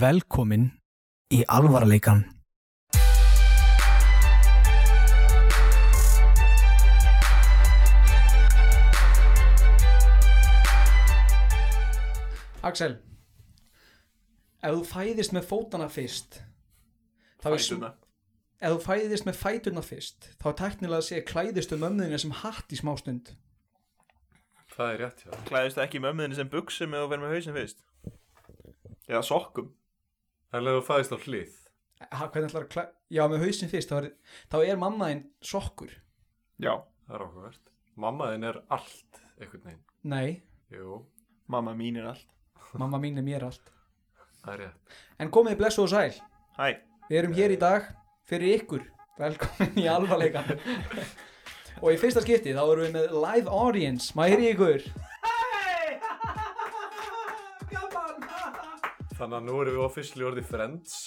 Velkomin í alvarleikan. Axel ef þú fæðist með fótana fyrst þá er sm- fætuna ef þú fæðist með fætuna fyrst þá er teknilega að segja klæðistu mömmuðinu sem hatt í smástund Það er rétt hjá þér. klæðist ekki mömmuðinni sem buksum eða verður með hausin fyrst eða sokkum Það er leið að fæðist á hlið ha, hvernig ætlar að klæ... já með hausinn fyrst þá er, þá er mammaðin sokkur já, Það er áhugavert Mamma þinn er allt einhvern veginn nei, Jú, mamma mín er allt mamma mín er mér allt það er rétt en komið blessu og sæl hæ, við erum hér í dag fyrir ykkur velkomin í alvarleikan og í fyrsta skipti þá erum við með live audience maður hér í ykkur Þannig að nú erum við officially orðið friends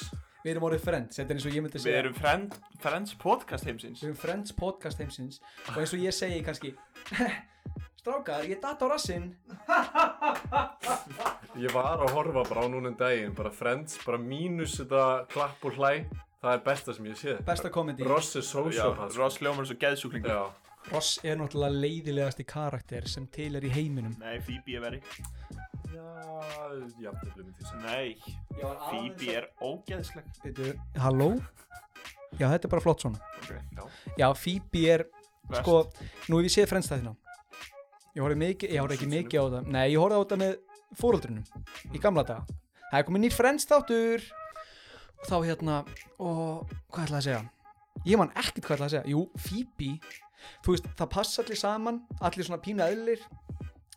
við erum orðið friends, þetta er eins og ég myndi við segja erum friend, friends podcast heimsins Við erum Friends podcast heimsins og eins og ég segi kannski Strákar, ég datt á rassinn Ég var að horfa bara á núna um daginn Bara friends, bara mínus þetta klapp og hlæ Það er besta sem ég sé Besta komedi Ross er já, sociopath sko. Ross Ljómar er svo geðsúklingur Já, Ross er náttúrulega leiðilegasti karakter sem til er í heiminum nei, Phoebe er veri já, já, það blir mér til sem nei, Ég var aðeins Phoebe er ógeðsleg Bíddu, Halló? Já, þetta er bara flott svona okay. Já, Phoebe er Verst. Sko, nú hef ég séð Friends þættina Ég horfði mikið, ég horfði ekki mikið á það Nei, ég horfði á það með fóreldrunum Í gamla daga Það er komin nýr Friends þáttur Og þá hérna, og hvað ætlaði að segja Ég man ekkert hvað ætlaði að segja Jú, Phoebe, þú veist, það passa allir saman Allir svona pínu eðlir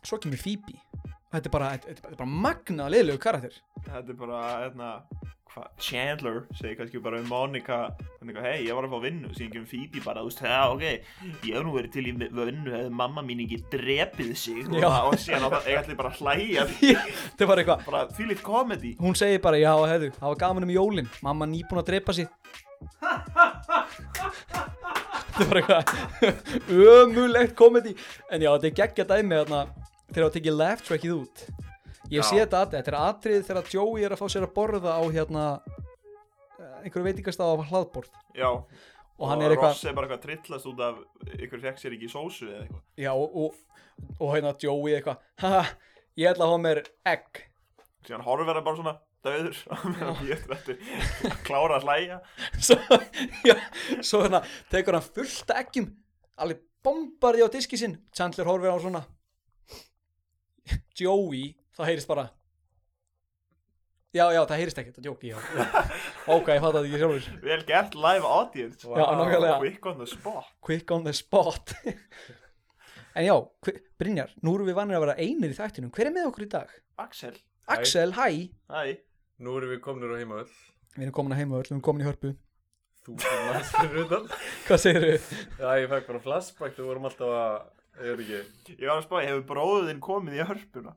Svo kemur Phoebe Og Þetta er bara, þetta þetta er bara magna leðilegu karakter þetta er bara, hérna hva, Chandler segir kannski bara um Monica þannig að, hei, ég var að fá vinnu síðan kemur Phoebe bara, þú veist, já, ok ég hef nú verið til í vinnu hefði mamma mín ekki drepið sig Já. og, og síðan á það, ég ætli bara að hlæja því. Þetta var eitthvað bara, því litt komedi Hún segir bara, já, hefðu, það var gaman um jólin Mamma nýbúin að dreipa sig Þetta var eitthvað Ömulegt komedi En já, þetta er geggja dæmi þarna Þegar það tekið laugh trackið út Ég sé Já. þetta atrið, þetta er atrið þegar Joey er að fá sér að borða á hérna eh, einhverju veitingastað á hlaðborð já, og hann er eitthvað Ross er bara eitthvað að trillast út af ykkur fekk sér ekki í sósu eða eitthvað já, og, og, og hérna Joey eitthvað haha, ég ætla að hafa mér egg síðan horfir hann bara svona döður og meðan ég er þetta að klára að hlæja svo, já, svo hérna tekur hann fullt af eggjum alveg bombarði á diski sinn Chandler horfir á svona Joey, það heyrist bara já, já, það heyrist ekkert það djóki, já ok, ég fatt að ekki sjálfur vel gert live audience já, nákvæmlega, quick on the spot quick on the spot en já, hver, Brynjar nú erum við vannir að vera einir í þættinum hver er með okkur í dag? Axel, Hæ. Axel, hæ, hæ, Nú erum við komnir á heima öll við erum komin að heima öll, við erum komin í hörpu Þú sem næst fyrir utan hvað segir þau? Já, ég fekk bara flashback Þú vorum alltaf að Ég er ekki ég var að spá, hefur bróðin komið í hörpuna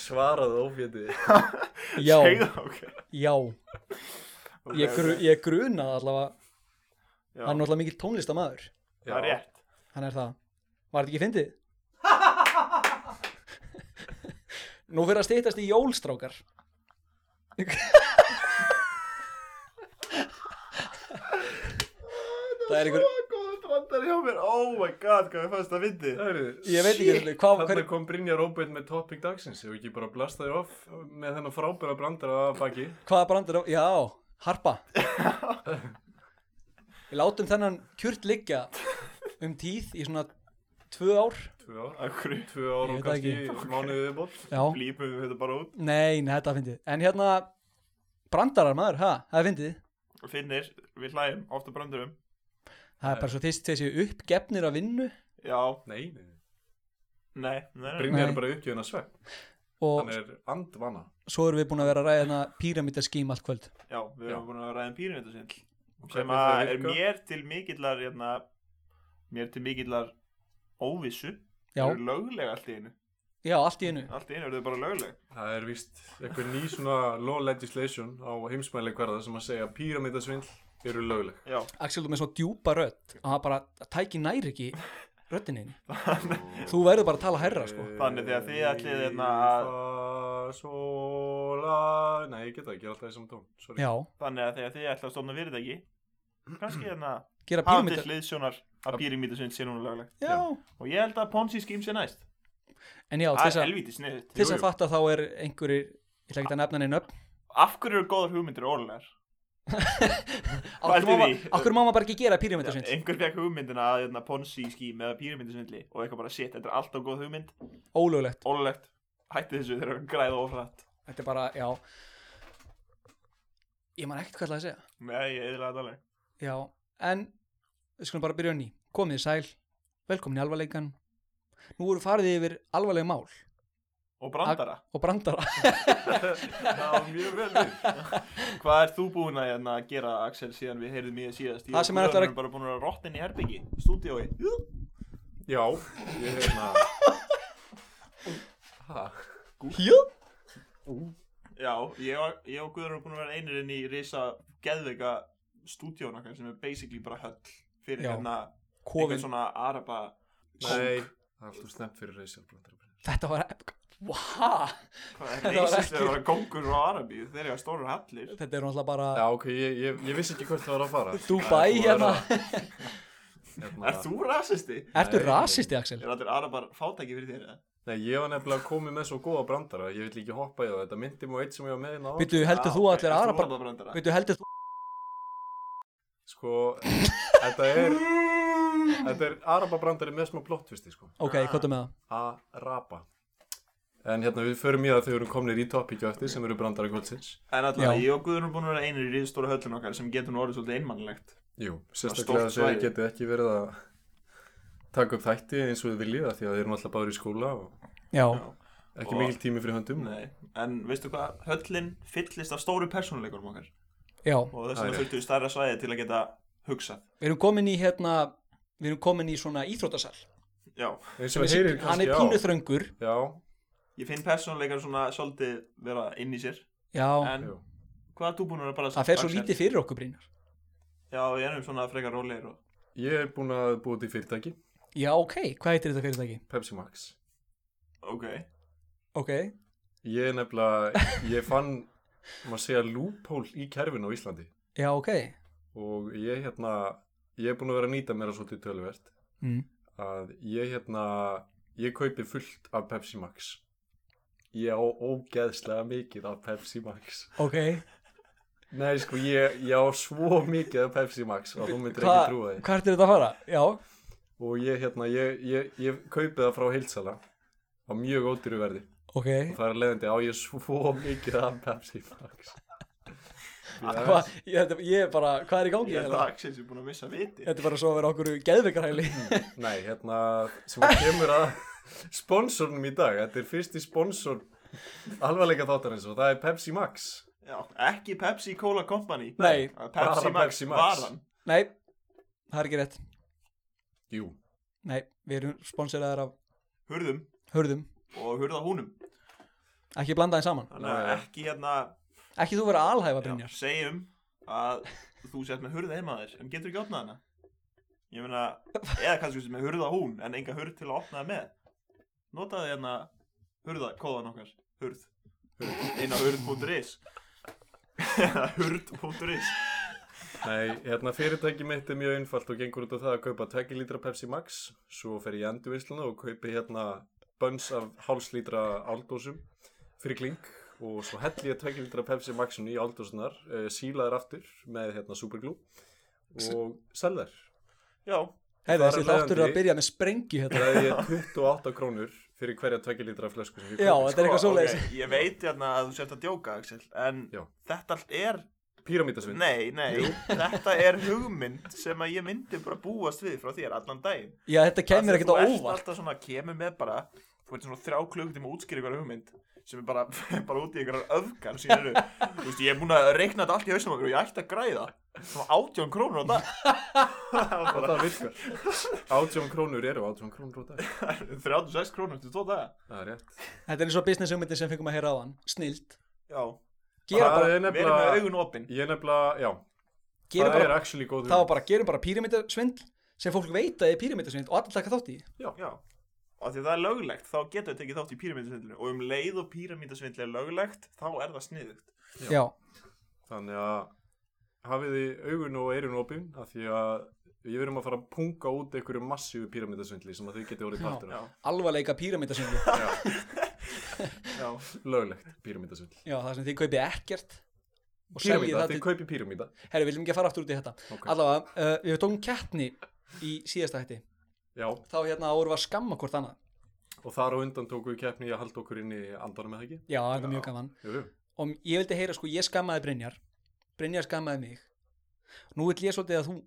svarað ófjöndi já, Segðu það, ok. já, Ok, ég, gru, ok. ég grunaði allavega Já, hann er náttúrulega mikill tónlistamæður það er rétt hann er það, var þetta ekki fyndið? nú fyrir að stýttast í jólstrákar það er einhver Svo góður brandari hjá mér, oh my god, hvað við fannst að fyndi Ég veit ekki einu sinni hvað- Þannig hverju- kom Brynjar óbeitt með topic dagsins Hefur ekki bara blastaði off með þennan frábæra brandara að baki hvaða brandur á, já, harpa við látum þennan kjurt liggja um tíð í svona tvö ár Tvö ár Akkur Tvö ár Ég og veit það kannski ekki. mánuðið viðbót já, blípum við þetta bara út nei, nei, þetta fyndið en hérna, brandarar maður, ha, það er fyndið og finnir, við hlæjum, ofta brandurum það er bara svo þess þessi uppgefnir að vinnu já, Nei, nei, nei. nei, nei, nei. Brynjar Nei. er bara uppgjöðin að svepp og Hann er andvana svo erum við búin að vera að ræða hérna píramítaským allt kvöld já, við Já. erum búin að ræða um píramítasindl sem Hvernig það að er virkar? mér til mikillar hérna, mér til mikillar óvissu já, eru lögleg allt í einu já, allt í einu allt í einu eru þau bara lögleg Það er víst eitthvað ný svona law legislation á heimsmæli hverða sem að segja að píramítasvindl eru lögleg já, Axel, þú með svo djúpa rödd að það bara að tæki næri ekki röddinni þín. þannig Eh, þú verður bara að tala herra sko Þannig þegar þið ætlið hérna að- að sóla Nei, ég geta ekki, ég er alltaf í saman tón Sorry. Já, Þannig að þegar þið ætla að stofna fyrirtæki kannski hérna gera hafið píramíta til hliðsjónar að píramítasund sé núna löglegt Já, og ég held að Ponzi ským sé næst en já, til það þess er að- helvítið sniðut til þess að fatta þá er einhverjir Ég ætla ekki að nefna henni nöfn af hverju eru góðar hugmyndir ólegar Akkur má Pældu ma- því. af hverju má maður bara ekki gera píramíta sinns einhver fekk hugmyndina að hérna, Ponzi ským eða píramítasundli og eitthvað bara shit, þetta er alltaf góð hugmynd Ólöglegt ólegt, hætti þessu þegar að græða ofrætt Þetta er bara, já Ég man ekkert hvað ég ætlaði að segja nei, ég eðlaði þetta alveg Já, en við skulum bara byrja á ný. Komið þið sæl, velkomin í alvarleikan. Nú voru farið yfir alvarlega mál og brandara, og brandara. Það var mjög vel við hvað er þú búinn að hérna, gera Axel síðan við heyrðum í þér síðast Það sem er alltaf- að bara búin að vera rottin í herbyggi, stúdíói Já, ég hefna Ha, Jú? já, ég og, ég og Guður erum búin að vera einir inn í risa geðveika stúdíóna sem er basically bara höll fyrir Já. hérna Kofin. einhvern svona araba nei Það er alltaf snemt fyrir reysjál Þetta var, wow, hvað Þetta var er reisist ekki- að vera kongur á arabíu þeir eru að stóru hallir þetta er náttúrulega bara Já, ok, ég, ég, ég vissi ekki hvert það var að fara Dubai Það er búið hérna. að vera- hérna er þú rasisti? Ertu Nei, rasisti, Axel? er allir arabar fátæki fyrir þér eða? Nei, ég var nefnilega komið með svo góða brandara Ég vill ekki hoppa í það, þetta myndi mjög eitt sem ég var með hérna á Veitu, heldur Já, þú að allir ert aðra þú bara... arababrandara? Veitu, heldur þú... Sko, þetta er Þetta er arababrandari með smá plottvisti, sko Ok, hvað með það? Araba En hérna, við förum í það þegar við erum komnir í topic á eftir sem eru brandara kvöldsins En alltaf, Já. ég og Guður erum búin að vera einir í ríðstóra höllun okkar sem getur nú orðið svolítið einmannlegt. Jú, stórt sérstaklega þegar svæði. þið getið ekki verið að taka upp þætti eins og þið viljið af því að þið erum alltaf báður í skóla og Já, ekki Og- mikil tími fyrir höndum Nei, en veistu hvað, höllin fyllist af stóru persónuleikurum okkar já. og þess Það er vegna þurftum við stærra svæði til að geta hugsað. Við erum komin í hérna, við erum komin í svona íþrótasal. Já, eins og það heyrir Hann kannski er á pínu þröngur. Já, ég finn persónuleikar svona svolítið vera inn í sér. Já, En jú. hvað er þú búin að vera bara það fer svo Axel? lítið fyrir okkur, Brynjar. Já, við erum svona frekar rólegir og... ég er búin að búið til fyrirtæki Já, ok, hvað heitir þetta fyrirtæki? Pepsi Max Ok, Ok, Ég er nefnilega, ég fann maður segja lúphól í kerfinu á Íslandi já, ok. og ég hérna ég er búin að vera að nýta mér að svolítið töluvert Mm. að ég hérna ég kaupi fullt af Pepsi Max ég á ógeðslega mikið af Pepsi Max Ok, Nei, sko, ég, ég á svo mikið af Pepsi Max og þú myndir Hva- ekki trúa því. hvað ertu þetta að fara? Já, Og ég, hérna, ég, ég, ég kaupið það frá heilsala á mjög ódýru verði. ok Og það er leiðandi á ég svo mikið af Pepsi Max. Hva, ég, þetta- ég er bara, hvað er í gangi? ég held að hérna? Axel sé búin að missa viti. Þetta er bara svo að vera okkur geðveikarhæli Nei, hérna, sem að kemur að sponsornum í dag. Þetta er fyrsti sponsor alvarleika þáttarins og það er Pepsi Max. Já, ekki Pepsi Cola Company. Nei. Pepsi Bara Max, Pepsi Max. varan. Nei, það er ekki rétt Jú. Nei, við erum sponsoraðar af Hurðum hörðum og hurða húnum. Ekki blanda þeim saman Þannig að Nei. ekki hérna, Ekki þú vera að alhæfa já, Brynjar segjum að þú sett með hurða heima þér, en getur ekki opnað hana. Ég meina, eða kannski sem með hurða hún, en enga hurð til að opna það með. Notaði hérna hurða, kóðan okkar, hurð. Inn á hurð.is. Eða hurð.is. Nei, hérna fyrirtæki mitt er mjög einfalt og gengur út af það að kaupa 2 lítra Pepsi Max svo fer ég í endurvinsluna og kaupi hérna bönns af háls lítra áldósum fyrir kling og svo helli ég 2 lítra Pepsi Maxun í áldósunar, uh, síla þær aftur með hérna superglú og sel þær. Já, Herri, þar þessi er þáttur er að leiðandi- byrja með sprengju hérna Það er ég 28 krónur fyrir hverja 2 lítra flösku sem ég Já, kaupi. þetta er eitthvað svoleiðis ok, ég veit hérna að þú sett að djóka, Axel, en Já. þetta allt er Píramítasvinn. Nei, nei, þetta er hugmynd sem að ég myndi bara búast við frá þér allan daginn Já, þetta kemur ekkert Af því á að Þú ert óvart alltaf svona, kemur með bara Þú ert svona þrjá klukkutíma að útskýra ykkur hugmynd sem er bara, bara út í ykkur öfgar sem eru, þú veist, ég er búin að reikna þetta allt í hausnum okkur og ég ætti að græða svona átjón krónur á dag Og það virkar. 18 krónur eru 18 krónur út af. 36 krónur til tvo daga Það er rétt. Þetta er eins og business hugmyndin sem fengum að heyra á hann Snilt Já, Gera bara, við Það er erum með nefnilega, augun opin ég er nefnilega, já, gera það er bara, actually góð það var bara, gerum bara píramítasvindl sem fólk veit að er píramítasvindl og allir taka þátt í Já, af því að það er löglegt þá getur við tekið þátt í píramíndasvindlinu og um leið og píramíndasvindli er löglegt þá er það sniðugt Já. já, Þannig að hafið þið augun og eirun opinn af því að við erum að fara að punga út einhverju massífu píramítasvindli sem að þið getið orðið Já. partur já, af. alvarleika píramítasvindlu Já, já, löglegt píramítasvindli. já, það sem þið kaupið ekkert og seljið Píramíta, það þið til, kaupið píramíta. herru, við viljum ekki að fara aftur út í þetta Ok. allavega, uh, við tókum keppni í síðasta hætti, Já, þá hérna vorum við að skamma hvort annað, og þar á undan tóku við keppni í að halda okkur inn í andanum eða ekki. já, þetta er Já. mjög gaman Jú, jú. og ég vildi heyra, sko, ég skammaði Brynjar Brynjar skammaði mig nú vil ég svolítið að þú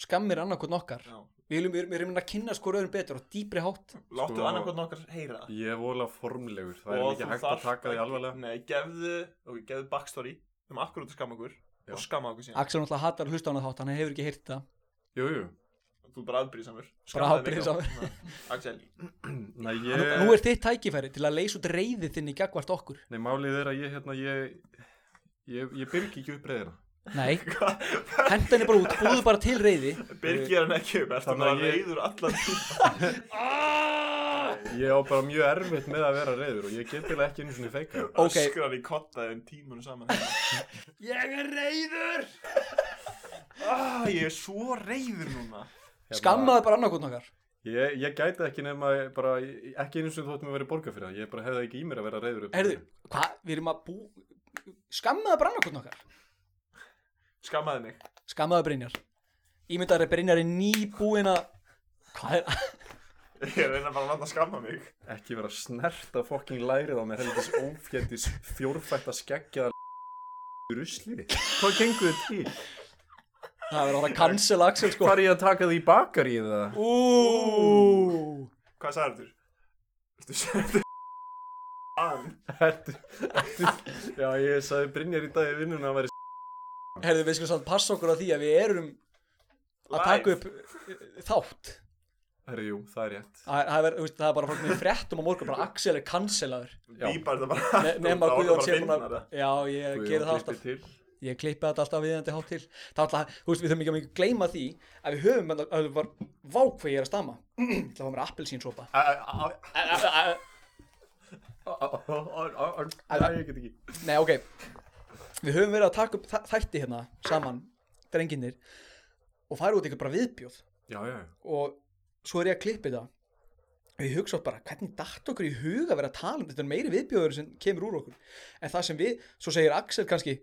skammir annarkotn okkar, já. við viljum, við erum- við erum að kynna skor öðrum betur og dýpri hátt láttu Sko- sko, annarkotn okkar heyra það Ég er vola formlegur, það er Og ekki þú hægt að þarft taka því ekki- alvarlega. nei, gefðu, ok, gefðu backstory um akkur út að skamma okkur Já. og skamma okkur síðan Axel náttúrulega hatar hlusta á hana þátt, hann hefur ekki heyrt það Jú, jú. þú er bara afbrísamur afbrýðisamur. Axel, Nei, nú, ég... nú er þitt tækifæri til að leysa út reyðið þinn í gagvart okkur Nei, málið er að ég, hérna, ég... Ég, ég byrgi ekki upp reyðina. Nei, henda henni bara út, búðu bara til reyði Birgir hann ekki um ertu Þannig bara að ég- reyður allan tíma Ég á bara mjög erfitt með að vera reyður og ég get eiginlega ekki einu svona feika. það. Ok. öskrar í kottaðin tímunum saman Eh, Ég er reyður ah, ég er svo reyður núna Hérna- Skammaði bara annarkotn okkar Ég, ég gæti ekki nema bara, ekki einu sem þú ættum að vera borga fyrir það, ég bara hefði ekki í mér að vera reyður upp. Herðu, hvað, við erum að bú Skammaði bara annarkotn okkar skammaði mig Skammaði Brynjar Ímyndaður er Brynjar er nýbúin að Hvað er, ég er að reyna bara að láta skamma mig Ekki vera snert að fokking lærið á mig, helvitis ófjöndis fjórfætt að skeggja rusli. Hvað gengur þið til? það verður að fara að cancela Axel sko Hvar er ég að taka því í bakar í það? Ú, hvað sagði þú? ertu hann Ertu, ertu, já, ég sagði Brynjar í dag í vinnunum að hann væri s- Herðu, við skulum samt passa okkur að því að við erum að taka upp eh, þátt Herru, jú, það er rétt. Það það er, þú veist, það er bara fólk með fréttum á morgun bara Axel er cancelaður Já. bípar þetta bara Ne- hérna. aftur nema út, þá að er Guðjón sé það búin bara að vinnar já ég Guðjón gerði það klippir alltaf til. ég klippi þetta alltaf viðandi hátt til það er alltaf, þú veist við þurfum ekki að mikið gleyma því að við höfum að það var vák hvað ég er að stama það var mér appelsínsopa Nei, ég get ekki. nei ok við höfum verið að taka upp þa- þætti hérna saman drenginir og fara út ykkur bara viðbjóð Já, já, já. og svo er ég að klippi það og ég hugsa oft bara hvernig datt okkur í huga að vera að tala um þetta er meiri viðbjóður sem kemur úr okkur en það sem við, svo segir Axel kannski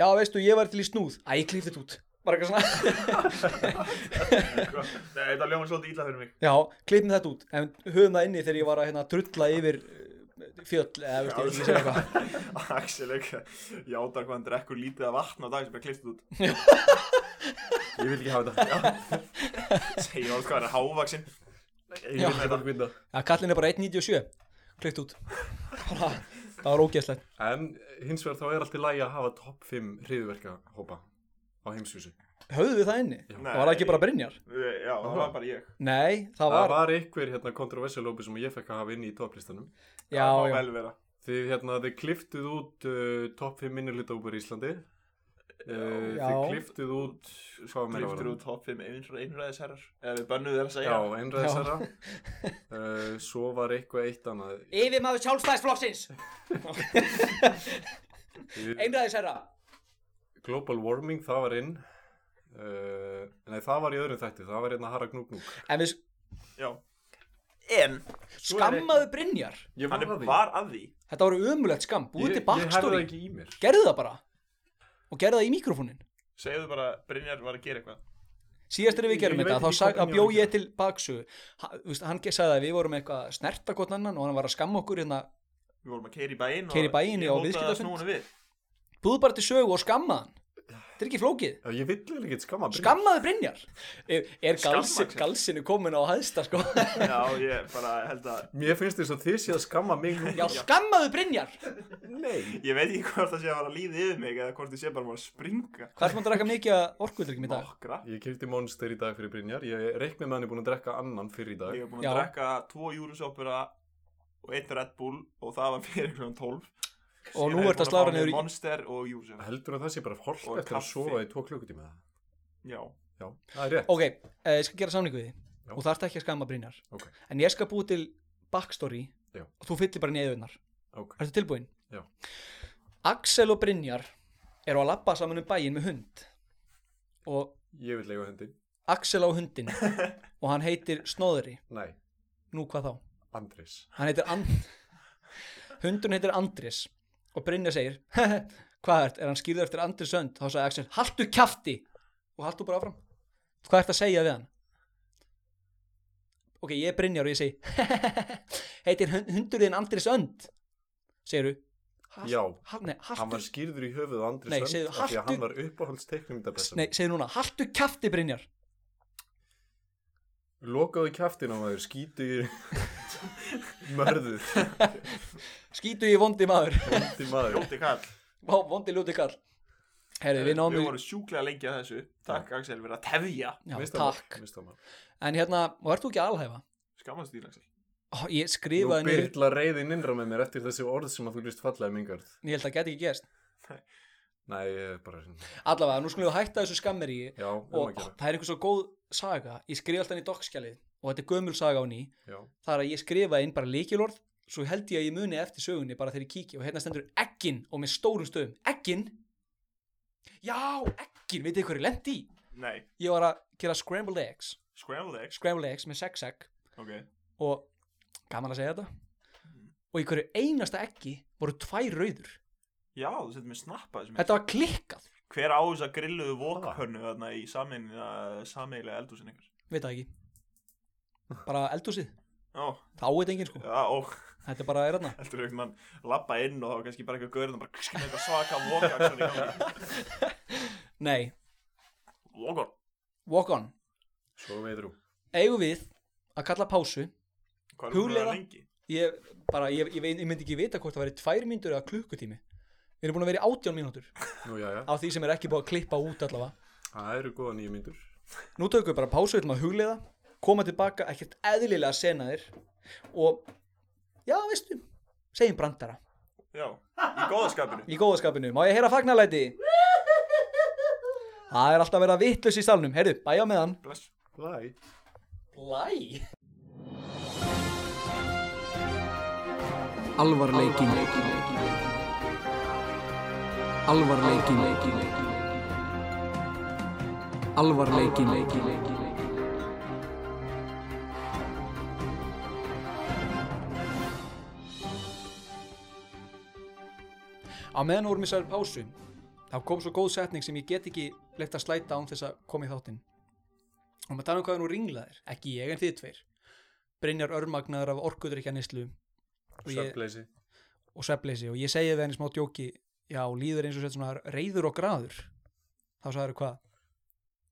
já veistu ég var til í snúð að ég klipti þetta út bara eitthvað svona, nei þetta ljóma svolítið illa fyrir mig já klippum þetta út en höfum það inni þegar ég var að hérna, drulla yfir eh, fjöll eða veist ég, ég segja eitthvað Axel ekki játar hvað hann drekkur lítið af vatn á dag sem er kliptið út Ég vil ekki hafa þetta. segja orð hvað hann er hávaksinn Ég vil ekki hafa þetta. já kallin er bara 1.97 klippt út bara, það var ógeðslegt En hins vegar þá er allt í lagi að hafa topp 5 hriðverka hópa á heimsvísu. höfðu við það inni, Nei. það var það ekki bara Brynjar já það var bara ég nei, það Það var, var, einhver hérna, kontroversialópi sem ég fekk að hafa inn í topplistanum. já, það má já, vel vera Þið, hérna, þið kliftuð út uh, topp 5 minnulitahópur í Íslandi. Uh, Já. þið kliftuð út, hvað meira var driftur það? út top 5 einræðisherrar eða við bönnuð þér að Já, segja einræðisara. Uh, svo var eitthvað eitt annað. yfirmaður sjálfstæðisflokksins Yfir- einræðisherra Global warming, það var inn. Uh, nei, það var í öðrum þætti. Það var hérna Harra Gnúknúk. en við já en skammaðu Brynjar Ég hann var er- að því. var að því þetta voru ömulegt skam, búið til Ég, ég hefði það backstory ekki í mér. gerðu það bara og gerðu það í mikrofónin segðu bara Brynjar var að gera eitthvað síðast er við gerum Ég veit þetta, ekki þá sag, hvað Brynjar bjó var að ég til baksu hann ge- sagði að við vorum eitthvað að snerta hvort annan og hann var að skamma okkur hérna, við vorum að keira í bæinn Keyra í bæinn, já, og ég mótaði að viðskiptafund. snúinu við búið bara til sögu og skamma hann þetta er ekki flókið, Já, Ég vill vel ekki skamma Brynjar. skammaðu Brynjar er, er Skamma, galsin, Axel. galsinu komin á hæðsta sko já ég bara held að Mér finnst þess að þið séð að skamma mig nú. já, skammaðu Brynjar Nei. ég veit ekki hvort það sé að fara að líða yfir mig eða hvort þið sé bara að fara að springa hvað er maður að draka mikið að orkuðryggum í dag? nokkra Ég kefti Monster í dag fyrir Brynjar. Ég reikni með hann er búin að drekka annan fyrir í dag. ég er búin Já. að drekka tvo júrusopura og eitt Red Bull og það var fyrir einhvern 12 og nú Síðan er ert ég búin að fá slára mér niður í Monster og Júrusopura Heldur að það sé bara holdt Og eftir að kaffi. sofa í tvo klukkutíma. já Já, það er rétt. ok, eh, ég skal gera samningu við þið Já. og það ert ekki að skamma Brynjar Ok. en ég skal búið til backstory Já. og þú fyllir bara neðunar ok, Ertu tilbúin? Já. Axel og Brynjar eru að labba saman um bæin með hund og ég vil lega hundin Axel á hundin og hann heitir Snóðri nei, nú hvað þá? Andris Hann heitir And... Hundun heitir Andris og Brynjar segir hvað ert, er hann skýrður eftir Andris hönd þá sagði Axel, haltu kjafti og haltu bara áfram hvað ert að segja við hann? ok, ég er Brynjar og ég segi heitir hund, hundur þinn Andris hönd segiru Já. hal, nei, hann var haltu, skýrður í höfuð á Andris Nei, hönd segðu, af því að hann haltu- var uppáhaldsteiknum nei, segir núna, haltu kjafti Brynjar lokaðu kjaftin á maður, skýtu í mörðuð skýtu ég vondi maður hundi maður Ljóti kall, Vá, vondi ljóti kall herri, við náum við vorum sjúklega lengi að þessu Takk Axel, við erum að tefja já, Mist það takk, mál, mist það mál. en hérna, og ert þú ekki að alhæfa? Skammast þín Axel Ó, ég Nú skrifaði niður, byrla reyðin innra með mér eftir þessi orð sem að þú líst fallaði mingarð. en ég held að það geti ekki gerst Nei, ég er bara svona. allavega, nú skulum við hætta þessu skammeri Já, um og að gera. það er einhver svo góð saga ég skrifa alltaf inn í dokkskjalið og þetta er gömul saga á ný Já, það er að ég skrifa inn bara líkilorð svo held ég að ég muni eftir sögunni bara þegar ég kíki og hérna stendur ekkin og með stórum stöðum ekkin já, ekkin, veitir hverju lendi í Nei, ég var að gera scrambled eggs scrambled eggs scrambled eggs með sex egg Ok, og gaman að segja þetta Mm. og í hverju einasta eggi voru tvær rauður já, þú settum við snappa þessum þetta var klikkað, Hver á þess að grilluðu vokpönnu þarna í sameiginlega eldhúsin ykkur veit það ekki bara eldhúsið, Ó, þá veit enginn sko já, ó, þetta bara er hérna heldur einhvern mann labba inn og þá kannski bara eitthvað görðan bara skilja eitthvað svaka vokaksson í gangi nei, Vokar walk on, svo veitur þú. eigum við að kalla pásu Hvað er það Hugleiða. lengi? ég, bara, ég, ég, veit- ég myndi ekki vita hvort það væri tvær mínútur eða klukkutími við erum búin að vera í átján mínútur Nú, já, já. á því sem er ekki búin að klippa út allavega Það eru góða nýju myndur. nú tökum við bara pásu, við ætlum að hugleiða koma tilbaka, ekkert eðlilega senaðir og já, veistu, segjum brandara Já, í góðaskapinu í góðaskapinu, má ég heyra fagnalæti það er alltaf að vera vittlust í salnum, heyrðu, bæja með hann Bless Læ. Læ Alvarleikin Alvarleikin Alvarleikin á meðan vorum við sér pásu þá kom svo góð setning sem ég get ekki leitt að slæta án þess að koma í þáttinn og maður tala um hvað er nú ringlaðir ekki ég en þið tveir Brynjar örmagnaður af orkudrykjanislu og, ég- Sveppleysi. og sveppleysi og ég segi við henni smá djóki já, líður eins og sett svona reyður og graður þá sagður hvað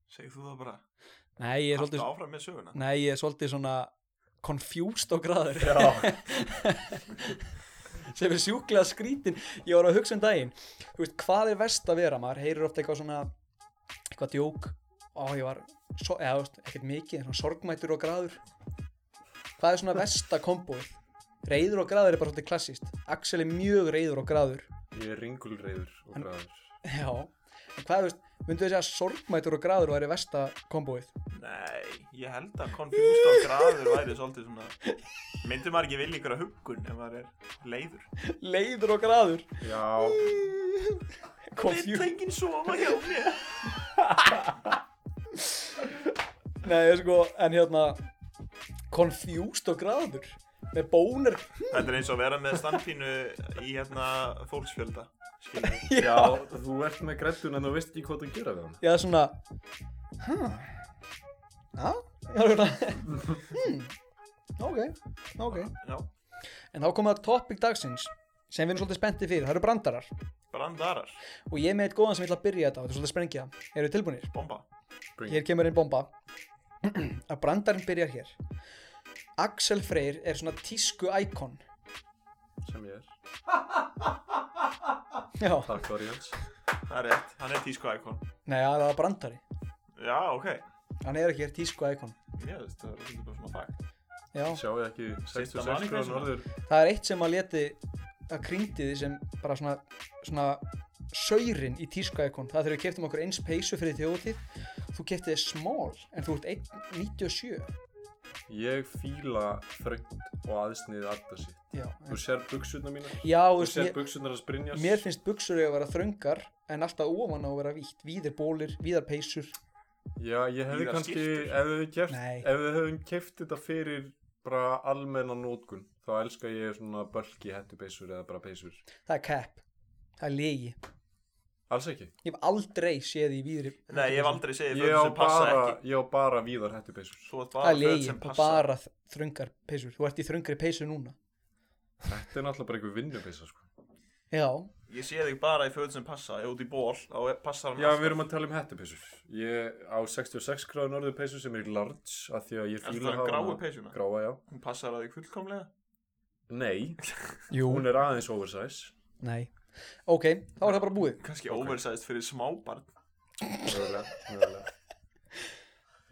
Segð þú það bara nei, ég er Haltu svolítið, áfram með söguna nei, ég er svolítið svona confused og graður Já. sem er sjúklega skrítin ég var að hugsa um daginn þú veist, hvað er verst að vera maður heyrir ofta eitthvað svona eitthvað djók og ég var so, eða, þú veist, ekkert mikið, en svona sorgmætur og graður hvað er svona versta komboð reyður og graður er bara svolítið klassist Axel er mjög reyður og graður Ég er ringulreiður og græður. já, en hvað, þú veist, myndu þið segja að sorgmætur og graður væri versta komboið Nei, ég held að konfjúst og graður væri svolítið svona Myndir maður ekki vilja einhverja huggun ef maður er leiður leiður og graður Já. Confused. enginn sofa hjá mér Nei, sko, en hérna confused og graður með bónir Þetta er eins og að vera með standpínu í hérna fólksfjölda Skilur við Já, þú ert með grættun en þú veist ekki hvað þú gera við hann. Já, svona Hæ? Já? Já, svona hmm. Ok, ok Já, En þá komum við að topic dagsins sem við erum svolítið spenntið fyrir, það eru brandarar brandarar, og ég er með eitt góðan sem ég ætla að byrja þetta á, þetta er svolítið sprengja Eru þið tilbúinir? bomba Bring. Hér kemur einn bomba að brandarinn byrjar hér Axel Freyr er svona tísku íkon Sem ég er. Já, Takk, Orjans. Það er rétt, hann er tísku íkon nei, það var brandari Já, ok Hann er ekki hér tísku íkon Ég veist, það er svolítið bara svona fakt Já, Sjáu ekki Sitta 66 maning gráðan svona. orður. það er eitt sem að leti að kringdi því sem bara svona, svona saurin í tískaikon það þegar við keftum okkur eins peysu fyrir þjóðtíð þú keftið small en þú ert 1.97 Ég fíla þröngt og aðsniðið alltaf sitt. já, Þú sér buksuna mína, já þú þú veist, sér mér, buksuna hans Brynjas. mér finnst buksur eiga að vera þröngar en alltaf ofan á að vera vítt víðir bólir, víðar peysur Já, ég hefði Víða kannski, skyrtur. ef við, keft, Nei. ef við hefum keft þetta fyrir bara almennan nótkun, þá elska ég svona bölki hettupeysur eða bara peysur. það er cap, það er legi Alls ekki. ég hef aldrei séð í víðri Nei, ég hef aldrei segið Ég fötum á sem passa bara, ekki ég á bara víðar hettupeysur. Þú ert það bara er föt legi sem og passa bara þ- þröngar peysur þú ert í þröngri peysu núna Þetta er náttúrulega bara einhver vinnupeysa, sko. já, Ég sé þig bara í föt sem passa, ég út í ból þá er- passar hann Já, við erum að tala um hettupeysur. Ég á 66 gráðu norðu peysu sem er large, af því að ég Er fíla það að hafa um gráu hana- peysuna? Gráa, já. Hún passar að þig fullkomlega Nei, jú, hún er aðeins oversize. nei ok, þá er það bara búið Kannski oversized fyrir smábarn Mögulega, mögulega.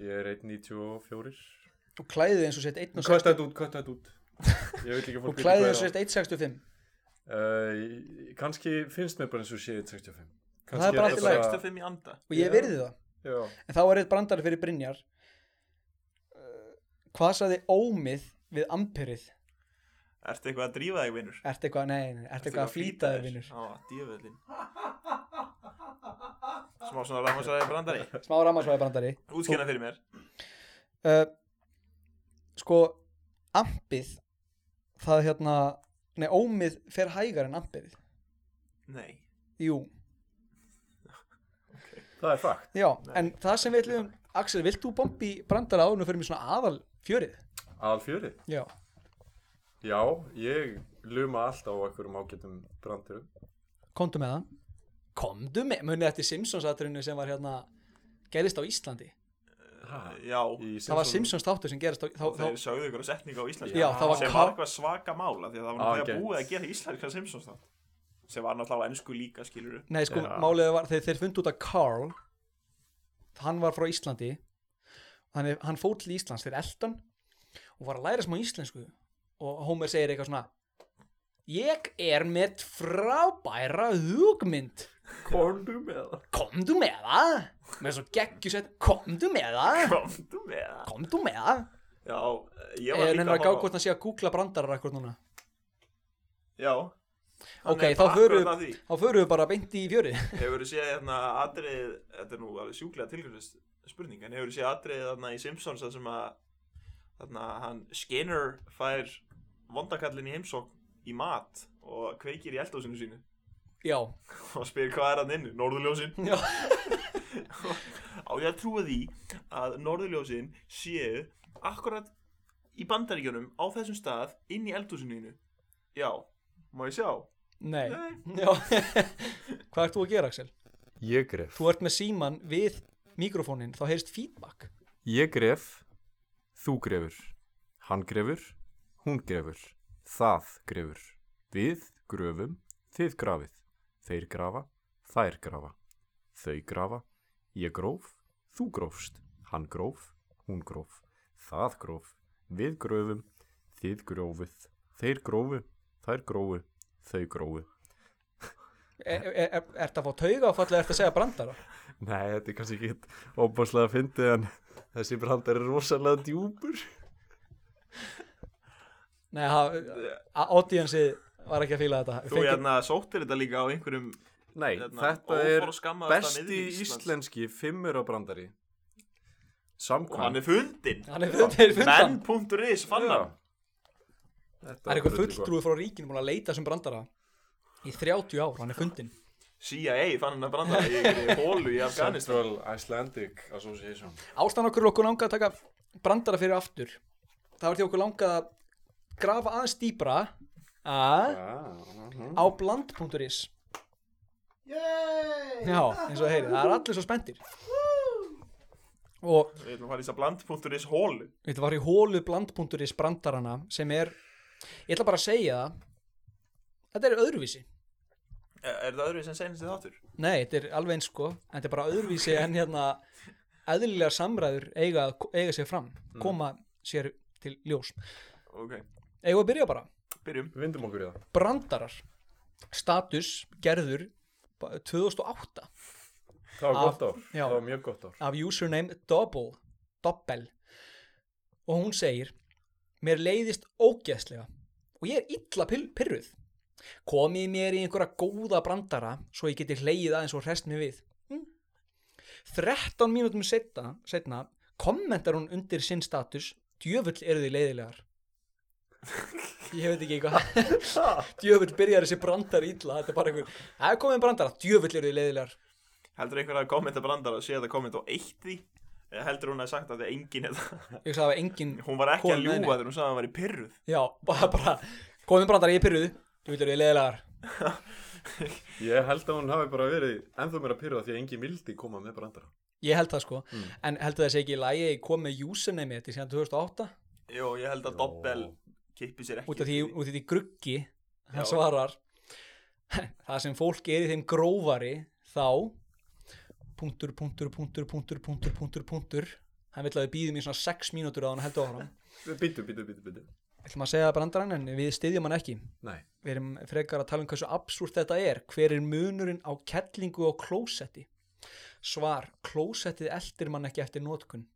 Ég er 1.94. og klæðið eins og sett 1 og Kvætt þetta út, kvætt þetta út. Ég vil ekki að og fólk klæðið eins og sett 165 Uh, kannski finnst mér bara eins og sé 1.65. Það er bara allt í lagi. 65 í anda og ég Já. verði það Já, en þá er eitt brandari fyrir Brynjar Uh, hvað saði ómið við amperið Ertu eitthvað að drífa þig, vinnur? ertu eitthvað, nei, nei, ertu eitthvað að flýta þér vinnur Á, djöfellin Smá svona rámasræði brandari smá rammarsvæði brandari Útskynna fyrir mér uh, sko, ampið það hérna nei, ómið fer hægar en amperið Nei jú, það er fakt. já, en það sem við ætlum Axel, vilt þú bombi brandara áður og fyrir mér svona aðal fjörið Aðal fjörið. já, Já, ég luma alltaf á einhverjum ágætum brandurum. komdu með það komdu með, munið eftir Simpsons aðtrinu sem var hérna gerðist á Íslandi Já, það var Simpsons þáttur sem gerist á, þá, þá, þeir sögðu ykkur að setninga á íslensku Já, það var sem ká- var eitthvað svaka mála því að það var náttúrulega Ágætt. búið að gera íslenska Simpsons þátt sem var náttúrulega á ennsku líka skilur Nei, sko, Já. málið var þegar þeir fundu út að Carl hann var frá Íslandi hann, er- hann fór til Íslands þegar eldan og var að læra smá íslensku og Homer segir eitthvað svona Ég er með frábæra hugmynd Kornu með það. Komdu með það með svo geggjusett, komdu með það Komdu með það komdu með það Já, ég var en líka hennar að gá hvort horfa á- hann sé að googla brandarar akkur núna Já Ok, Hann er þá bara förum- akkurat að því. þá förum við bara beint í fjörið Hefur þú séð hérna atriðið, þetta er nú alveg sjúklega tilkvæmst spurning, en hefur þú séð atriðið þarna í Simpsons þar sem að þarna hann Skinner fær vondakallin í heimsókn í mat og kveikir í eldhúsinu sínu Já, og spyr hvað er hann inni, norðurljósin Já. á ég að trúa því að norðurljósin séu akkurat í bandaríkjunum á þessum stað inn í eldhúsinu þínu. já, má ég sjá nei Nei. Já. Hvað ert þú að gera, Axel? Ég gref. þú ert með síman við mikrofónin þá heyrist feedback Ég gref, þú grefur. Hann grefur, hún grefur. Það grefur. Við gröfum, þið grafið. Þeir grafa, þær grafa. Þau grafa, ég gróf, þú grófst. Hann gróf, hún gróf. Það gróf, við gröfum, þið grófið. Þeir grófu, þær grófu, þau grófu. er, E, er, er, ertu að fá tauga og fallið ertu að segja brandara Nei, þetta er kannski ekki óbáslega fyndið en þessi brandar er rosalega djúpur. nei, ha- a- audienceið var ekki að fíla þetta þú Fengi- hérna sóttir þetta líka á einhverjum Nei, Hérna, þetta er óforskammaðasta besti miðjumaður Íslands. íslenski fimmur á brandari. og hann Samkvæm. er fundin Hann er fund- þeir fundu hann. menn.is fann hann það er eitthvað fulltrúi frá ríkinu búin að leita sem brandara í 30 ár, hann er fundin CIA fann hann að branda í einhverju hólu í Afganistan Central Icelandic Association. ástæðan okkur okkur langað að taka brandara fyrir aftur það var því okkur langað að grafa aðeins dýbra að Ah, uh á bland.is já, eins og það heyri, það er allir svo spenntir og við ætlum að fara í þess að bland.is hólu Þetta var í hólu bland.is brandarana sem er, ég ætla bara að segja það, þetta er öðruvísi. er E, er það öðru sem senast þáttur Nei, þetta er alveg eins sko, en þetta er bara öðruvísi en hérna eðlilega samræður eiga, að- eiga sér fram, koma sér til ljós. ok, Eigum við að byrja bara, byrjum Vindum okkur í það. brandarar, status, gerður, ba- 2008 Það var Af- gott ár. já. Það var mjög gott ár. af username double, doppel og hún segir mér leiðist ógeðslega og ég er illa pil- pirruð komið mér í einhverja góða brandara svo ég geti hleyið aðeins og hrest mig við hm? 13 mínútum setna, setna kommentar hún undir sinn status djöfull eru þið leiðilegar ég veit ekki eitthvað djöfull byrjar þessi brandar illa þetta er bara einhver, það er komið brandara djöfull eru þið leiðilegar Heldur einhver að kommenta brandar og sé þetta komment og eitt því? Eða heldur hún að sagt að þetta er engin þetta? ég sagði að engin Hún var ekki Kom, að nei, ljúa nei. þegar hún sagði að hún var í pyrruð. já, bara, bara komið brandara ég er pirruð djöfull eru þið leiðilegar Ég held að hún hafi bara verið ennþá meira pyrrað því að enginn vildi koma með brandara. Ég held það sko, en held það sé ekki í lagi að ég kom með username þetta síðan 2008 Jó, ég held að Doppel kippi sér ekki. út af því, út af því gruggi hann Já. svarar það sem fólk er í þeim grófari þá punktur, punktur, punktur, punktur, punktur, punktur, punktur hann vill að við býðum í svona 6 mínútur að hann heldur áfram Býtu, býtu, býtu, býtu. ætlum að segja það brandarann en við styðjum hann ekki Nei. við erum frekar að tala um hversu absúrt þetta er hver er munurinn á kettlingu og klósetti svar, klósettið eldir mann ekki eftir notkun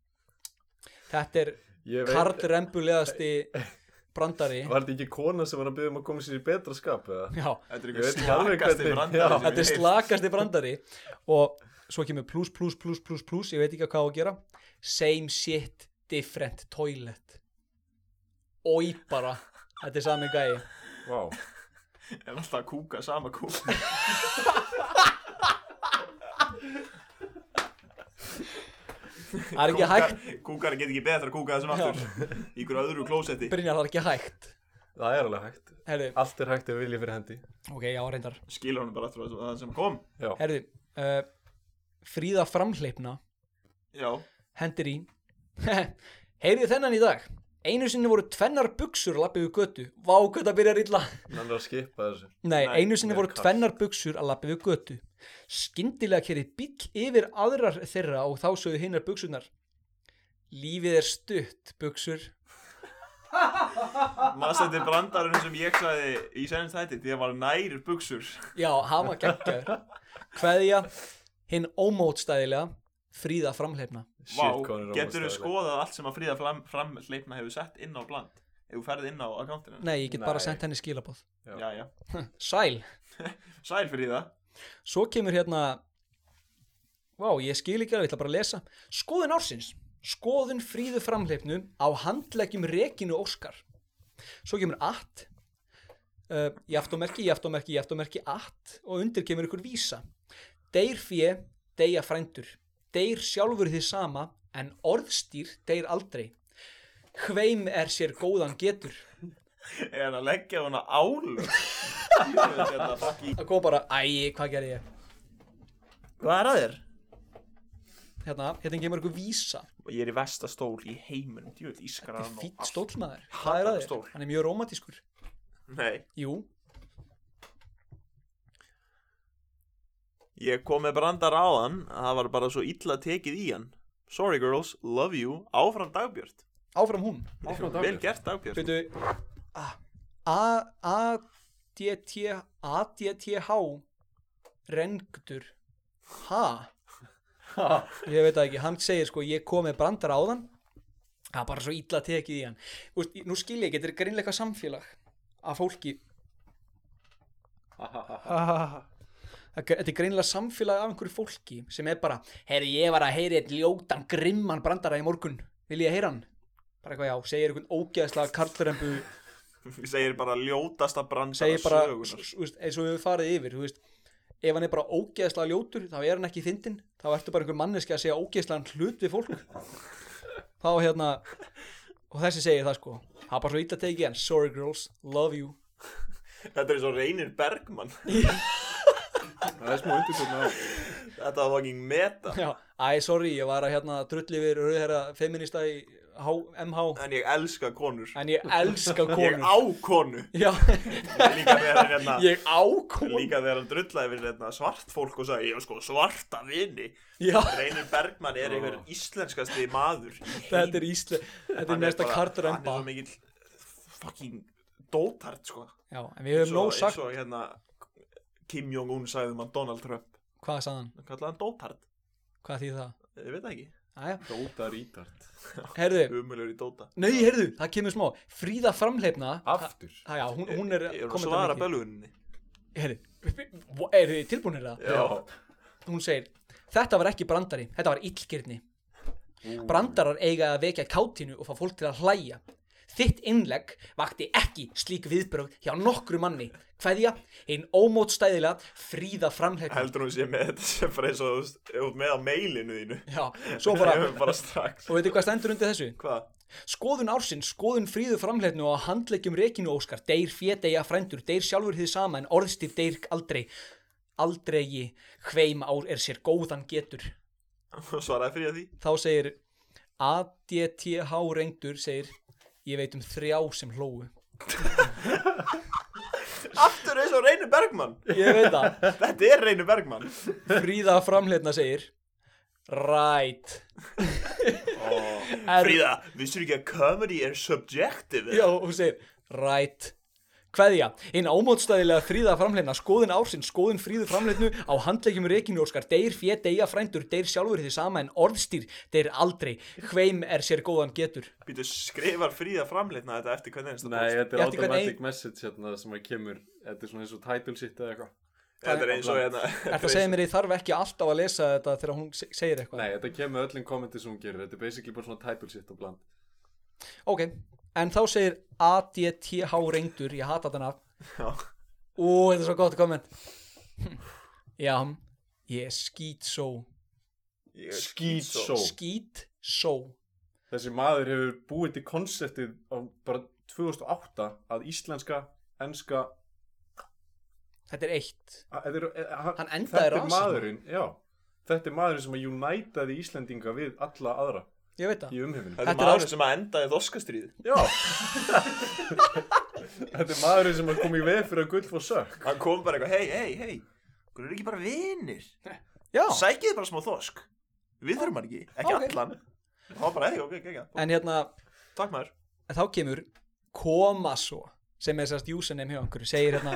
þetta er Ég veit- kardrembulegasti brandari Var þetta ekki kona sem var að byggja um að koma sér í betra skap eða? já, Þetta er Ég veit einhver ekki alveg slakasti brandar. hvernig- sem ég Já. þetta er hef heyrt. slakasti brandari og svo kemur plus, plus, plus, plus, plus ég veit ekki hvað á að gera same shit, different toilet oi bara þetta er sami gæi Vá. Er alltaf að kúka sama kúka. það er ekki hægt, Kúkar get ekki betra að kúka þessum aftur. Í hverju öðru klósetti. Brynjar það er ekki hægt Það er alveg hægt. Herðu, Allt er hægt ef vilja fyrir hendi. ok, já, reyndar Skilur hún bara aftur að það sem kom. Já. Herðu, uh, Fríða framhleipna Já. hendir í Heyrðu þennan í dag Einu sinni voru tvennar buksur lappið við götu Vá, hvað það byrjar illa Hann er að skipa þessu. Nei, Nei, einu sinni mér er voru kalt. tvennar buksur að lappið við götu Skyndilega kerið bíll yfir aðrar þeirra og þá sögðu hinnar buksunar Lífið er stutt, buksur Mast þetta er brandarinn sem ég sagði í senast þætti. Því það var nærir buksur. Já, hafa geggjaður Kveðja, hinn ómótstæðilega Fríða framhleipna Vá, sko- Shit, hvað hann er getur þú ómótstæðileg. skoðað allt sem að Fríða fram, framleipna hefur sett inn á bland ef þú ferð inn á akkántina Nei, ég get bara Nei. sendt henni skilabóð já, já. Sæl Sæl Fríða Svo kemur hérna Vá, ég skil ekki alveg, ég ætla bara að lesa Skoðun ársins Skoðun fríðu framleipnu á handleggjum Reginu Óskar Svo kemur att uh, Jaftómerki, jaftómerki, jaftómerki att og undir kemur ykkur vísa Deyr fjö, deyja frændur Deyr sjálfur þið sama en orðstýr deyr aldrei Hveim er sér góðan getur er hann að leggja hana álug Það kom bara, æ, hvað gerði ég? Hvað er að þér? Hérna, hérna kemur ykkur vísa Ég er í vestastól í heiminum djúið ískara hann Fýtt stólmaður, hvað er að stól. þér? Hann er mjög rómatískur Nei, Jú, ég kom með brandar á hann það var bara svo illa tekið í hann Sorry girls, love you, áfram dagbjört áfram hún Áfram Vel dagbjörn. gert dagbjört Veitu A- A-D-T A-D-T-H Rengdur Ha? Ég veit það ekki, hann segir sko ég kom með brandar á þann Það er bara svo illa tekið í hann Úst, Nú skil ég ekki, þetta er greinleika samfélag af fólki Það er- Þetta er greinilega samfélag af einhverju fólki sem er bara, heyrðu ég var að heyri eitt ljótan grimman brandara í morgun vil ég heyra hann? Bara eitthvað já, segir einhvern ógeðslega karlrembu Segir bara ljótasta brandara segir bara, s- sögunar s- þú veist, eins og við höfum farið yfir þú veist, ef hann er bara ógeðslega ljótur þá er hann ekki fyndin, þá ertu bara einhver manneski að segja ógeðslega hlut við fólk þá hérna og þessi segir það sko, það er bara svo illa tekið en sorry girls, love you Þetta er svo reynir Bergmann Það er smá undirkotna á. Þetta var ekki meta Já, æ, sorry, ég var að hérna drulli við rauðherra feminista í H MH, En ég elska konur en ég elska Ég konur á konu Já, Líka þegar hann hérna ég á konur Líka þegar hann drullaði fyrir hérna svart fólk og sagði Ég hef sko svarta vini Já, Reynir Bergmann er einhver íslenskasti maður í heimi. þetta er Ísle þetta Hann er mesta bara- kartremba Hann er svo mikill fucking dótart sko Já, en við höfum nóg sagt, Svo hérna Kim Jong-un sagði um hann Donald Trump hvað sagði hann, Hann kallaði hann dótart hvað þýð það? Ég veit það ekki Æja, Dóta Rítard heyrðu, Umulur í Dóta nei, heyrðu, það kemur smá Fríða framleifna Aftur Æ, já, hún, hún er Ég er að komin svara þarna ekki. belguninni Heyrðu, eru þið tilbúinir það? Já Hún segir, þetta var ekki brandari, þetta var illgirni Brandarar eiga að vekja kátinu og fá fólk til að hlæja. Þitt innlegg vakti ekki slík viðbrögð hjá nokkru manni. Kveðja, einn ómótstæðilega fríða framleifna. Heldur hún sé með þetta sem fyrir eins og þú veist, ef þú ert með á mailinu þínu Já, svo bara, Ég er bara strax og veitir hvað stendur undir þessu? Hvað? Skoðun ársins, skoðun fríðu framleifnu og handleggjum rekinu óskar, deyr fétegja frændur, deyr sjálfur þið sama en orðstíf deyr aldrei, aldrei hveim ár er sér góðan getur. Hún svaraði fyrir því Þá segir ADTH reyndur, segir, ég veit um þrjá sem hlóu. Aftur eins og Reynir Bergmann Ég veit það. Þetta er Reynir Bergmann Fríða framleitna segir Right er, Fríða, vissur ekki að comedy er subjective? Já, hún segir Right Kveðja, einn ámótstæðilega fríða framleitna skoðin ársinn, skoðin fríðu framleitnu á handleikjum reikinu óskar, deyr fjö, deyja frændur deyr sjálfur því sama en orðstýr deyr aldrei, hveim er sér góðan getur Býtu, skrifar Fríða framleitna þetta eftir hvernig einsta Nei, post? þetta er Ég ætti hvern automatic ein- message hérna sem að kemur Þetta er svona eins og title sitt eða eitthvað Þetta er eins og hérna Þetta segir mér ég þarf ekki alltaf að lesa þetta þegar hún se- segir eitthvað Nei, þetta kemur öllum kommenti sem hún gerir Þetta er basically bara svona title sitt á bland Ok, en þá segir ADTH reyndur, ég hata þetta nafn Já. Ú, þetta er svo gott komment Já, ég er skýt svo Ég er Skítsó. Só. Skýt svo Þessi maður hefur búið til konseptið á bara 2008 að íslenska, enska Þetta er eitt að- Þetta er, að- Hann endaði þetta er rasisma. maðurinn Já, þetta er maðurinn sem að unitaði Íslendinga við alla aðra Ég veit það í umheiminum Þetta Þetta er er maður ást- sem að enda í þorskastríð Já Þetta er maðurinn sem að koma í veg fyrir að gull fór sökk Hann kom bara eitthvað, hei, hei, hei Hvernig eru ekki bara vinir? Já, Sækið bara smá þorsk Við þurfum hann ekki, ekki Ok. allan Það var bara, hei, ok, ekki, ekki en hérna Takk maður en Þá kemur koma svo sem er sérst username hjá einhverju segir hérna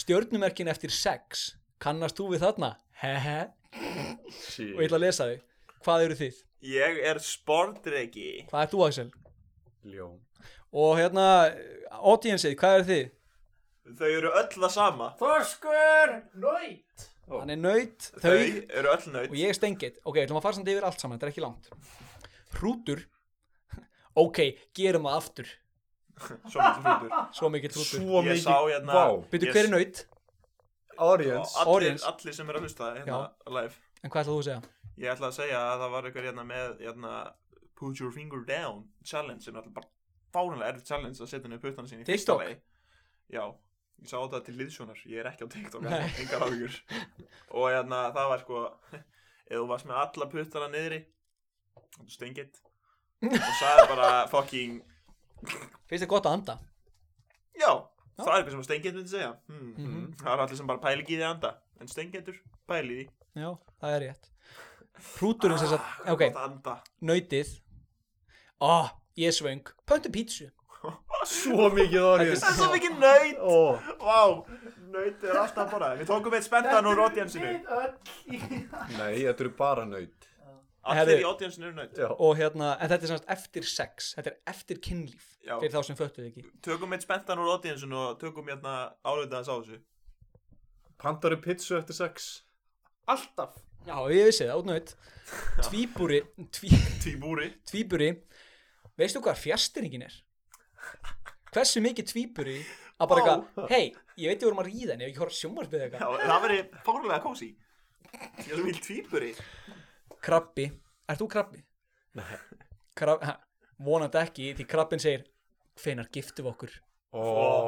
stjörnumerkin eftir sex kannast þú við þarna? Hehe og ég ætla að lesa þau Hvað eru þið? Ég er sportreiki Hvað ert þú Axel? Ljón Og hérna audienceið, hvað eru þið? Þau eru öll það sama Þorskur Nóitt Hann er nöyt, Þau þau eru öll og nöyt ég er steingett ok, ætlum að fara samt yfir allt saman, þetta er ekki langt hrútur ok, gerum það aftur Svo mikið hlutur svo mikill hrútur Svo Ég mikið sá hérna- Vá byrju, Yes. hver er naut, Audience Sko, Allir, Audience. allir sem eru að hlusta hérna live en hvað ætlaðu þú að segja Ég ætla að segja að það var eitthvað hérna með hérna, Put your finger down challenge sem er alltaf bara fáranlega erfið challenge að setja henni upp utan sín í fyrsta TikTok? lagi. Já, ég sá þetta til liðsjónar ég er ekki á TikTok, Nei. engar áhugur og hérna, það var sko ef þú varst með alla puttana niðri stengið og sagði bara fucking finnst þið gott að anda já, það er eitthvað sem stengið myndi segja hmm. Mhm. það er allir sem bara pæli ekki í því að anda en stengiður pæli í því já, það er rétt hrúturinn sem sagt, ok, Ah, gott að anda nautið ah, ég er svöng, pöntu pítsu Svo mikið það er audience svo mikið nöyt Ó Vá, nautið er alltaf bara Við tókum eitt spenntan úr audiensinu Nei, þetta eru bara nöyt Allir í audiensinu eru naut Já og hérna, en þetta er semst eftir sex þetta er eftir kynlíf Já. fyrir þá sem föttuð ekki Tökum eitt spenntan úr audiensinu og tökum hérna álitaðans á þessu Pantaru pizzu eftir sex Alltaf já, ég vissi það, út naut tvíburi, tví, Tíbúri tvíburi veistu hvað fjastringin er hversu mikið tvíburi að bara eitthvað, hei, ég veit ég vorum að ríða en ef ég horf sjónvarpið Já, eitthvað það veri fárlega kósi Ég er svo vilt tíbúri krabbi, ert þú krabbi? Krab, ha, vonandi ekki því krabbin segir, hvenar giftum við okkur Ó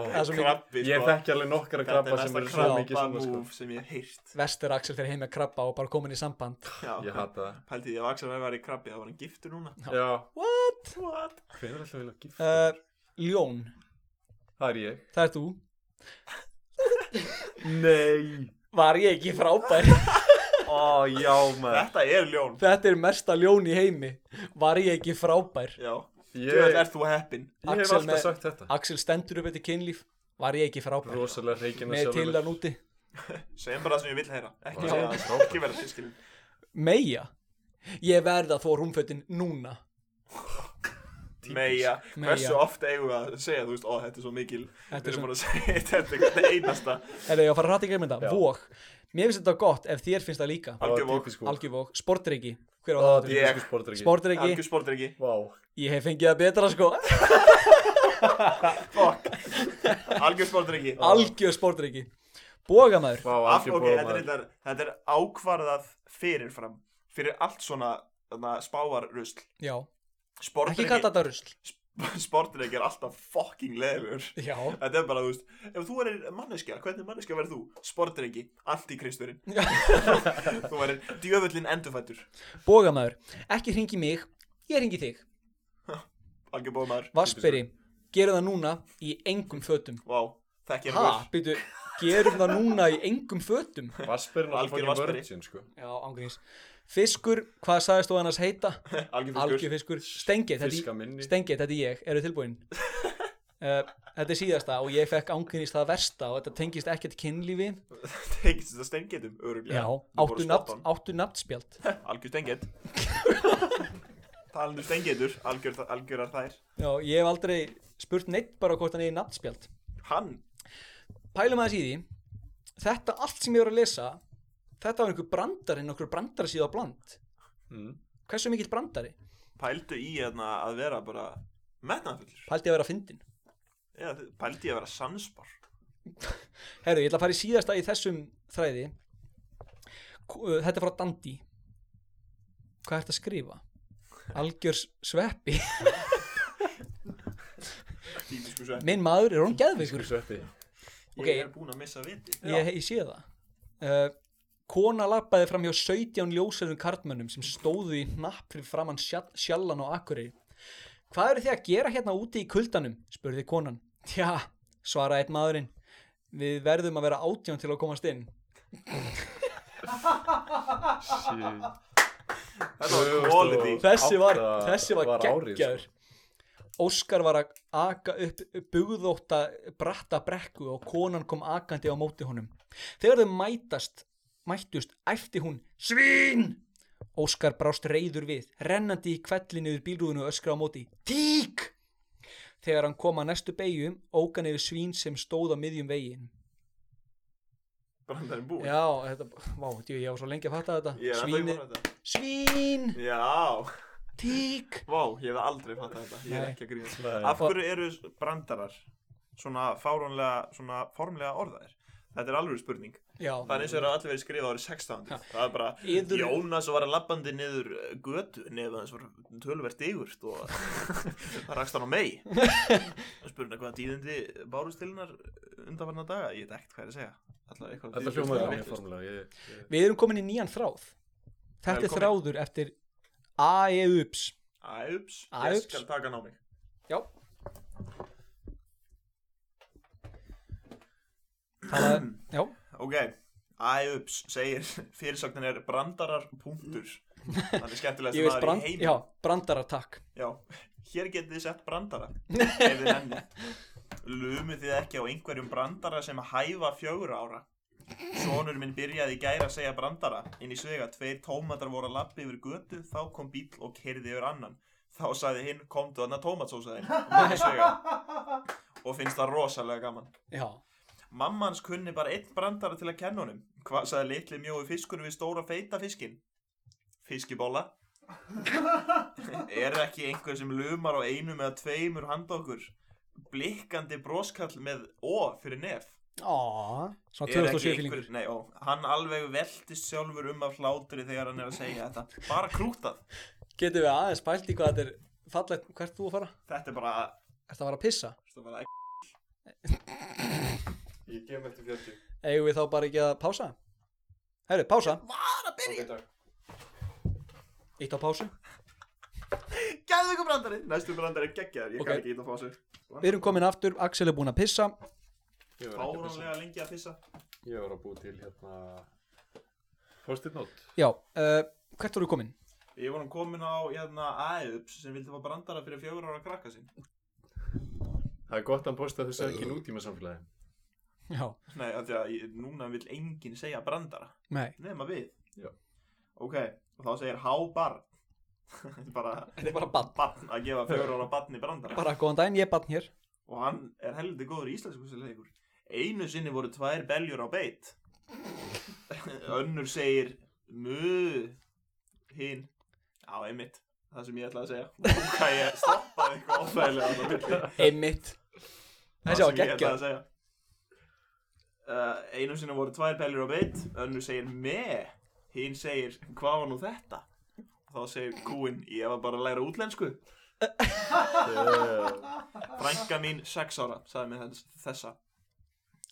Það er svo mikið- Krabbi, Ég sko þekki alveg nokkara Þetta krabba er sem mesta eru svo mikið krabba svona sko múf sem ég hef heyrt vestur Axel fyrir heim með krabba og bara komin í samband Ég Já, hata pælti því að Axel hefur verið krabbi Það var hann giftur núna það Já what? What? Hvernig er alltaf vilja að gifta? Uh, ljón, það er ég það ert þú Nei var ég ekki frábær Ó, já maður Þetta er ljón þetta er mesta ljón í heimi var ég ekki frábær Já, Ég, þú ég er þú heppin hef Axel alltaf með- sagt þetta Axel stendur upp eftir kynlíf var ég ekki frábær Rosalega reygin að með sjálfur. tildan úti Segjum bara það sem ég vil heyra Ekki, Vá. segja- ekki vera fiskin Meija ég verð að þó rúmfötin núna Meja, hversu Meyja. oft eigum við að segja, þú veist, ó, þetta er svo mikil Þetta er Við erum svo- bara að segja þetta eitthvað einasta er ég að fara að ræta í gegnum þetta, Já. vók mér finnst þetta gott ef þér finnst það líka Það var Algjör vók. típisk vók. algjör vók, sportreiki hver Það var var það? típiskur Ég- sportdrykki. sportreiki, Algjör sportir ekki Vá. ég hef fengið það betra sko Fuck Algjör sportir ekki algjör sportreiki bógamæður, Vá, Af, ok, algjör þetta er, bóðmaður. reyndar, þetta er ákvarðað fyrirfram fyrir allt svona þarna, spávarrusl já, ekki kalla Sportreiki þetta rusl Sportreiki er alltaf fucking leðilegur já, Þetta er bara, þú veist, ef þú erir manneskja, hvernig manneskja verður þú? Sportreiki, antikristurinn Já. Þú verður djöfullin endurfættur bógamæður ekki hringi mig, ég hringi þig Algjör bóðmaður Vasperi, gerum það núna í engum fötum Vá, þekki ha, hann vel býtu, gerum það núna í engum fötum Vasperinn og Algjör fucking Vasperi. Virgin, sko. já, ángríns fiskur, hvað sagðist þú annars heita? Algjör fiskur algjörfiskur Stengið, þetta, Fiskaminni. Stengið, þetta er ég, eru tilbúin uh, Þetta er síðasta og ég fekk ángrínist það versta og þetta tengist ekkert kynlífi Tengist þetta steingetum, öruglega Já, áttu, nafn, áttu nafnspjald Algjör steinget Talandi um steingetur, algjör, algjörar þær Já, ég hef aldrei spurt neitt bara hvort hann er nafnspjald Hann, Pælum aðeins í því Þetta allt sem ég var að lesa Þetta var einhver brandari, einhver brandari síða á bland Mm. Hversu mikill brandari? pældu í hérna að vera bara metnaðfullur Pældi ég að vera fyndin Já, þið- Pældu í að vera sannspar Herru, ég ætla að fara í síðasta í þessum þræði K- uh, Þetta er frá Dandi Hvað ertu að skrifa? Algjör sveppi Típisku svepp Minn maður er hún Fiskur geðveikur sveppi. ok. Ég er búinn að missa viti Ég, ég sé það uh, Kona lappaði fram hjá 17 ljósöðum kartmönnum sem stóðu í hnapp fyrir framann sjall, sjallan og akkurri Hvað eru þið að gera hérna úti í kuldanum? spurði konan Tja, svaraði einn maðurinn Við verðum að vera átján til að komast inn Shit. Þetta var 2008 quality þessi var, Átta þessi var, var árið, geggjaður sko. Óskar var að aka upp bugðótta bratta brekku og konan kom akandi á móti honum þegar þau mætast mættust æfti hún svín Óskar brást reyður við rennandi í kvellinni yfir bílrúðinu og öskra á móti tík þegar hann kom að næstu beigjum ókan yfir svín sem stóð á miðjum vegin Brandarinn búinn já, þetta, vá, djú, ég var svo lengi að fatta þetta Ég er ennþá ekki svín, búinn að þetta svín, Já, tík vá, ég hef aldrei fattað þetta Ég er Nei. ekki að gríða Nei. Af hverju eru brandarar svona fáránlega, svona formlega orðaðir? Þetta er alveg spurning. já, Það er eins og eru allir verið skrifað árið 16. Það er bara, Yður- Jónas var að labbandi niður eh, götu, nefn að þess var töluvert digurt og það rakst hann á mei. Spurning hvaða tíðindi bárust til hennar undanfarnar daga? Ég veit ekkert hvað ég er að segja. Alla, eitthvað Þetta dýrðust hljómaður eða mjög vitlaust. formulega. Ég, ég, Við erum komin í nýjan þráð Þetta er Velkomin. þráður eftir E AEUPS Æ, ups, Æ, ég ups. skal taka hann á mig. Já Það er, já, Ok, Æ, ups, segir, fyrirsögnin er brandarar punktur. Það er skemmtilegast ég veist maður í brand, heiminum. já, brandaratakk Já, hér getið þið sett brandara ef þið nennið Lumið þið ekki á einhverjum brandara sem hæfa fjögur ára Sónur minn byrjaði í gæra að segja brandara inn í svega, tveir tómatar voru að lappa yfir götu þá kom bíl og kerði yfir annan þá sagði hinn, komdu þarna tómatsósaðin inn í svega og finnst það rosalega gaman Já, Mamma hans kunni bara einn brandara til að kenna honum. Hvað sagði litli mjói fiskur við stóra feita fiskin? Fiskibóla. er ekki einhver sem lumar á einum eða tveimur handokkur? Blikkandi broskall með ó fyrir nef. á, svona Er ekki 2007 fílingur Nei, ó, hann alveg veltist sjálfur um af hlátri þegar hann er að segja þetta. Bara krútað. Getum við aðeins pælt í hvað þetta er fallegt, hvert þú að fara? Þetta er bara, Ertu að fara að pissa? þetta er bara ég kem eftir 40. Eigum við þá bara ekki að pása? Herru, pása, bara að byrja. Ok, takk. ítt á pásu Gæðu ykkur brandari. Næstu brandari er geggjaður, ég Ok. kann ekki ít að fá sig. Við erum komin aftur, Axel er búinn að pissa Ég var ekki að pissa. Fáránlega lengi að fissa. Ég var að búi til hérna post-it note. Já, uh, hvert voru komin? Ég var hann komin á hérna Æðups sem vildi fá brandara fyrir fjögur ára krakka sín. Það er gott að hann posta þessu ekki í nútíma samfélagi. Já, Nei, af því að ég, núna vil enginn segja brandara. nei Nefna við. Já. ok, og þá segir hábarn bara Þetta er bara bann barn að gefa fjögur ára barni brandara Bara góðan daginn, ég er bann hér og hann er heldur góður í íslensku sem leikur einu sinni voru tvær beljur á beit önnur segir mu hinn á einmitt það sem ég ætlaði að segja ok, ég stoppaði eitthvað ofæðilega þarna á milli. Einmitt Það Þessi var sem ég ætlaði geggjað að segja uh, einu sinni voru tvær beljur á beit önnur segir me hinn segir hvað var nú þetta þá segir kúinn ég var bara að læra útlensku frænka mín sex ára sagði mér þess- þessa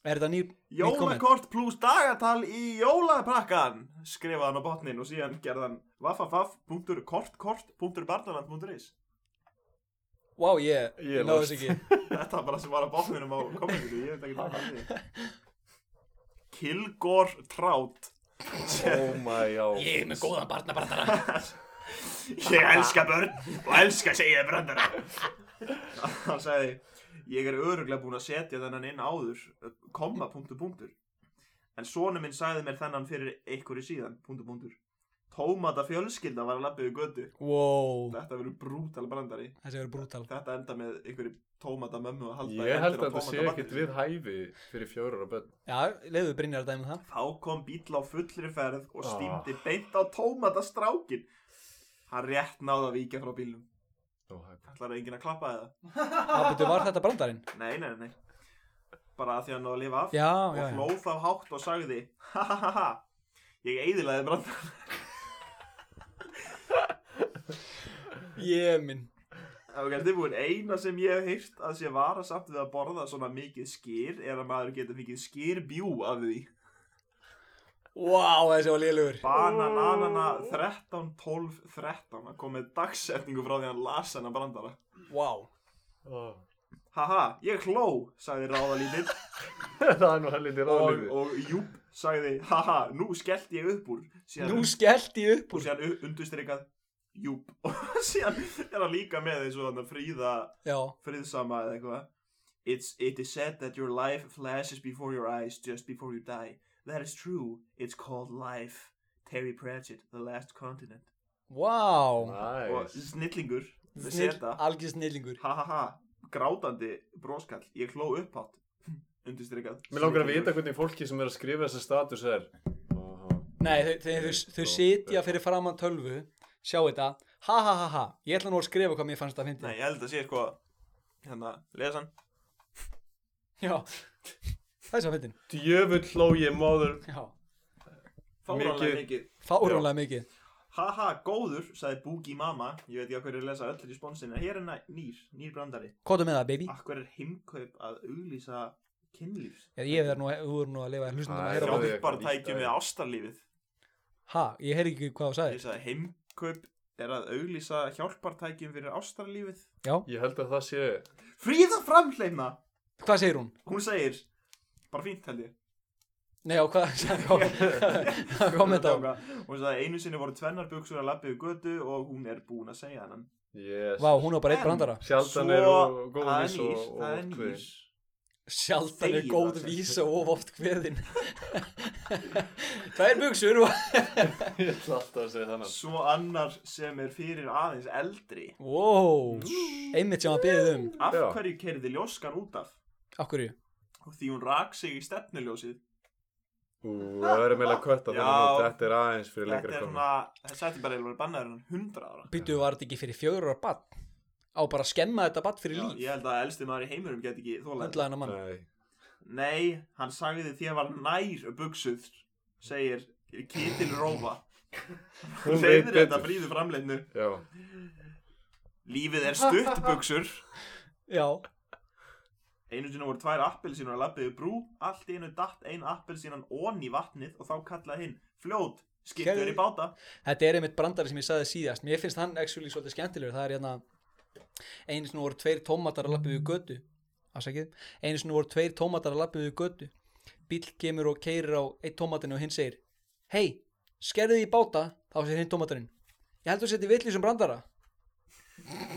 Er þetta nýr nýr komment? Jólakort pluss dagatal í jólaprakkan skrifaði hann á botnin og síðan gerði hann www.kortkort.barnaland.is Vá, ég, Ég ég náðu þess lost. ekki Þetta var bara sem var á botninum á kommentinu, ég veit ekki hvað hann er Kilgore Trout Oh my god Ég er með góðan barnabrandara Ég elska börn og elska segja þér brandara Hann sagði Ég er öruglega búinn að setja þennan inn áður komma punktur punktur En sonu minn sagði mér þennan fyrir einhverju síðan punktur punktur Tómata fjölskylda var að labba við götu Wow, Þetta verður brútal brandari þessi verður brútal Þetta enda með einhverju tómata mömmu að halda í Ég held hendur á að þetta sé tómata barni. ekkit við hæfi fyrir fjórar og bönn Já, leiðu Brynjar að dæma það Þá kom bíl á fullri ferð og Ah. stýmdi beint á tómatastrákin. Hann rétt náði að víkja frá bílnum. Ætlar enginn að klappa eða? Abitur, var þetta brandarinn? Nei, nei, nei. Bara að því að hann náði að lifa af. Já, og já, já hlóð þá hátt og sagði, ha ha ha ha, ég eiðilaði brandarann. Ég minn Ok, tilbúin, eina sem ég hef heyrt að sé vara samt við að borða svona mikið skýr er að maður getur mikið skýrbjú af því. Vá, þessi var lélugur Banan, anana, 13, 12, 13. Það kom með dagsetningu frá því hann las hennar brandara. Vá Haha, ég hló, sagði ráðalítið Það er nú helviti og, ráðlífi og júp, sagði haha, nú skellti ég upp úr síðan, Nú skellti ég upp og úr síðan u- undirstrikað júp og síðan er hann líka með eins og hann fríða Já, friðsama eða eitthvað It's, it is said that your life flashes before your eyes just before you die. That is true. It's called life. Terry Pratchett, The Last Continent. vá Og Næs snillingur, með Snill, seta, algjör snillingur ha ha ha, grátandi bróskall. Ég hló upphátt, undirstrikað. Mér langar að Snillingur. vita hvernig fólki sem er að skrifa þessa status er Aha. Nei, þau, þau, þau, þau sitja fyrir framann tölvu Sjá þetta Ha ha ha ha Ég ætla nú að skrifa hvað mér fannst það að fyndi Nei, ég held að sé sko hérna, lesan Já Þessi var fyndin Djöfull hló ég móður Já Fáránlega Mikið. mikið Fáránlega mikið Haha, góður, sagði Boogie Mama Ég veit ekki að hverju er að lesa öll responsin En hér er næ- nýr, nýr brandari Kóta með það, baby Akkur er heimkaup að auglýsa kynlífs Já, Ég verð nú, þú verður nú að lifa hlustundum að Æ, heyra já, bara ég- Þrjóður bara tækjum við Æ. ástarlífið Ha, ég heyri ekki hvað þú Ég sagði sagði heimkaup er að auglýsa hjálpartækjum fyrir ástarlífið Já, Ég held að það sé Fríða framhleifna hvað segir hún? Hún segir, bara fínt held ég Nei, já, hvað sagði Kommenta hún Hún sagði einu sinni voru tvennar buksur að labbi við götu Og hún er búin að segja hennan Yes Vá, hún á bara eitt En- brandara Sjaldan er og góð viss og og Það er og nýr, hver. Sjaldan er Þegið góð það, vísa of oft kveðin Tvær buksur og- Ég ætla alltaf að segja þannig Svo annar sem er fyrir aðeins eldri Wow Einmitt sem að beðið um Af Já. hverju kerði ljóskan út af? Af hverju? Og Því hún rak sig í stefnuljósið Ú, það verður meðlega að kötta þannig að Já. þetta er aðeins fyrir Þetta lengra er koma svona, þetta er bara eiginlega bannaður hann 100 ára Býttu var þetta ekki fyrir fjögur ára bann Á bara að skemma þetta bann fyrir Já, líf Ég held að elsti maður í heimurum get ekki þólega Höndlaði hennar mann Nei, Nei, hann sagði því að var nær buksuð Segir Kítil Rófa Hún veit Leiðir þetta betur. fríðu framleinu já Lífið er stutt buksur Já Einu sinni voru tvær appelsínur að labbið við brú, allt í einu datt ein appelsínan onn í vatnið og þá kallaði hinn fljót, skiptu Gerðu- þér í báta. Þetta er einmitt brandari sem ég sagði síðast Mér finnst hann actually svolítið skemmtilegur Það er hérna Einu sinni voru tveir tómatar að lappa við götu Afsakið Einu sinni voru tveir tómatar að lappa við götu Bíll kemur og keirir á eitt tómatinu og hinn segir Hei, skerðu því í báta Þá segir hinn tómatarinn Ég heldur að setja villið sem brandara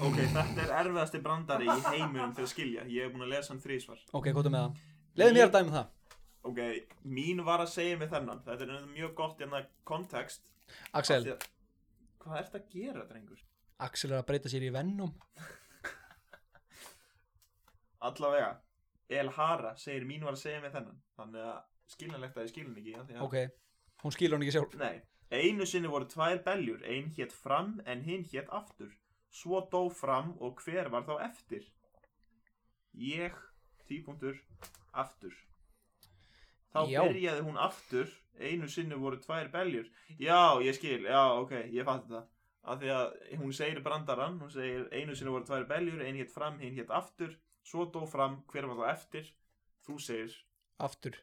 Ok, þetta er erfiðasti brandari í heiminum til að skilja. Ég hef búin að lesa hann þrísvar. Ok, gott með það Leðu mér að dæmi það Ok, mín var að segja mig þennan. Þetta er auðvitað mjög gott hérna kontekst. Axel, Af því að- Hvað ertu að gera, drengur? Axel er að breyta sér í Venom Allavega, El Hara segir mín var að segja mig þennan Þannig að skiljanlegt að ég skiljan ekki af því að- Ok, hún skilur hann ekki sjálf Nei, einu sinni voru tvær beljur Ein hétt fram en hinn hétt aftur Svo dó fram og hver var þá eftir? Ég, típuntur, aftur Þá Já. byrjaði hún aftur Einu sinni voru tvær beljur Já, ég skil, já, ok, ég fatti það Af því að hún segir brandarann Hún segir einu sinni voru tvær beljur Ein hétt fram, hinn hétt aftur Svo dó fram, hver var þá eftir? Þú segir Aftur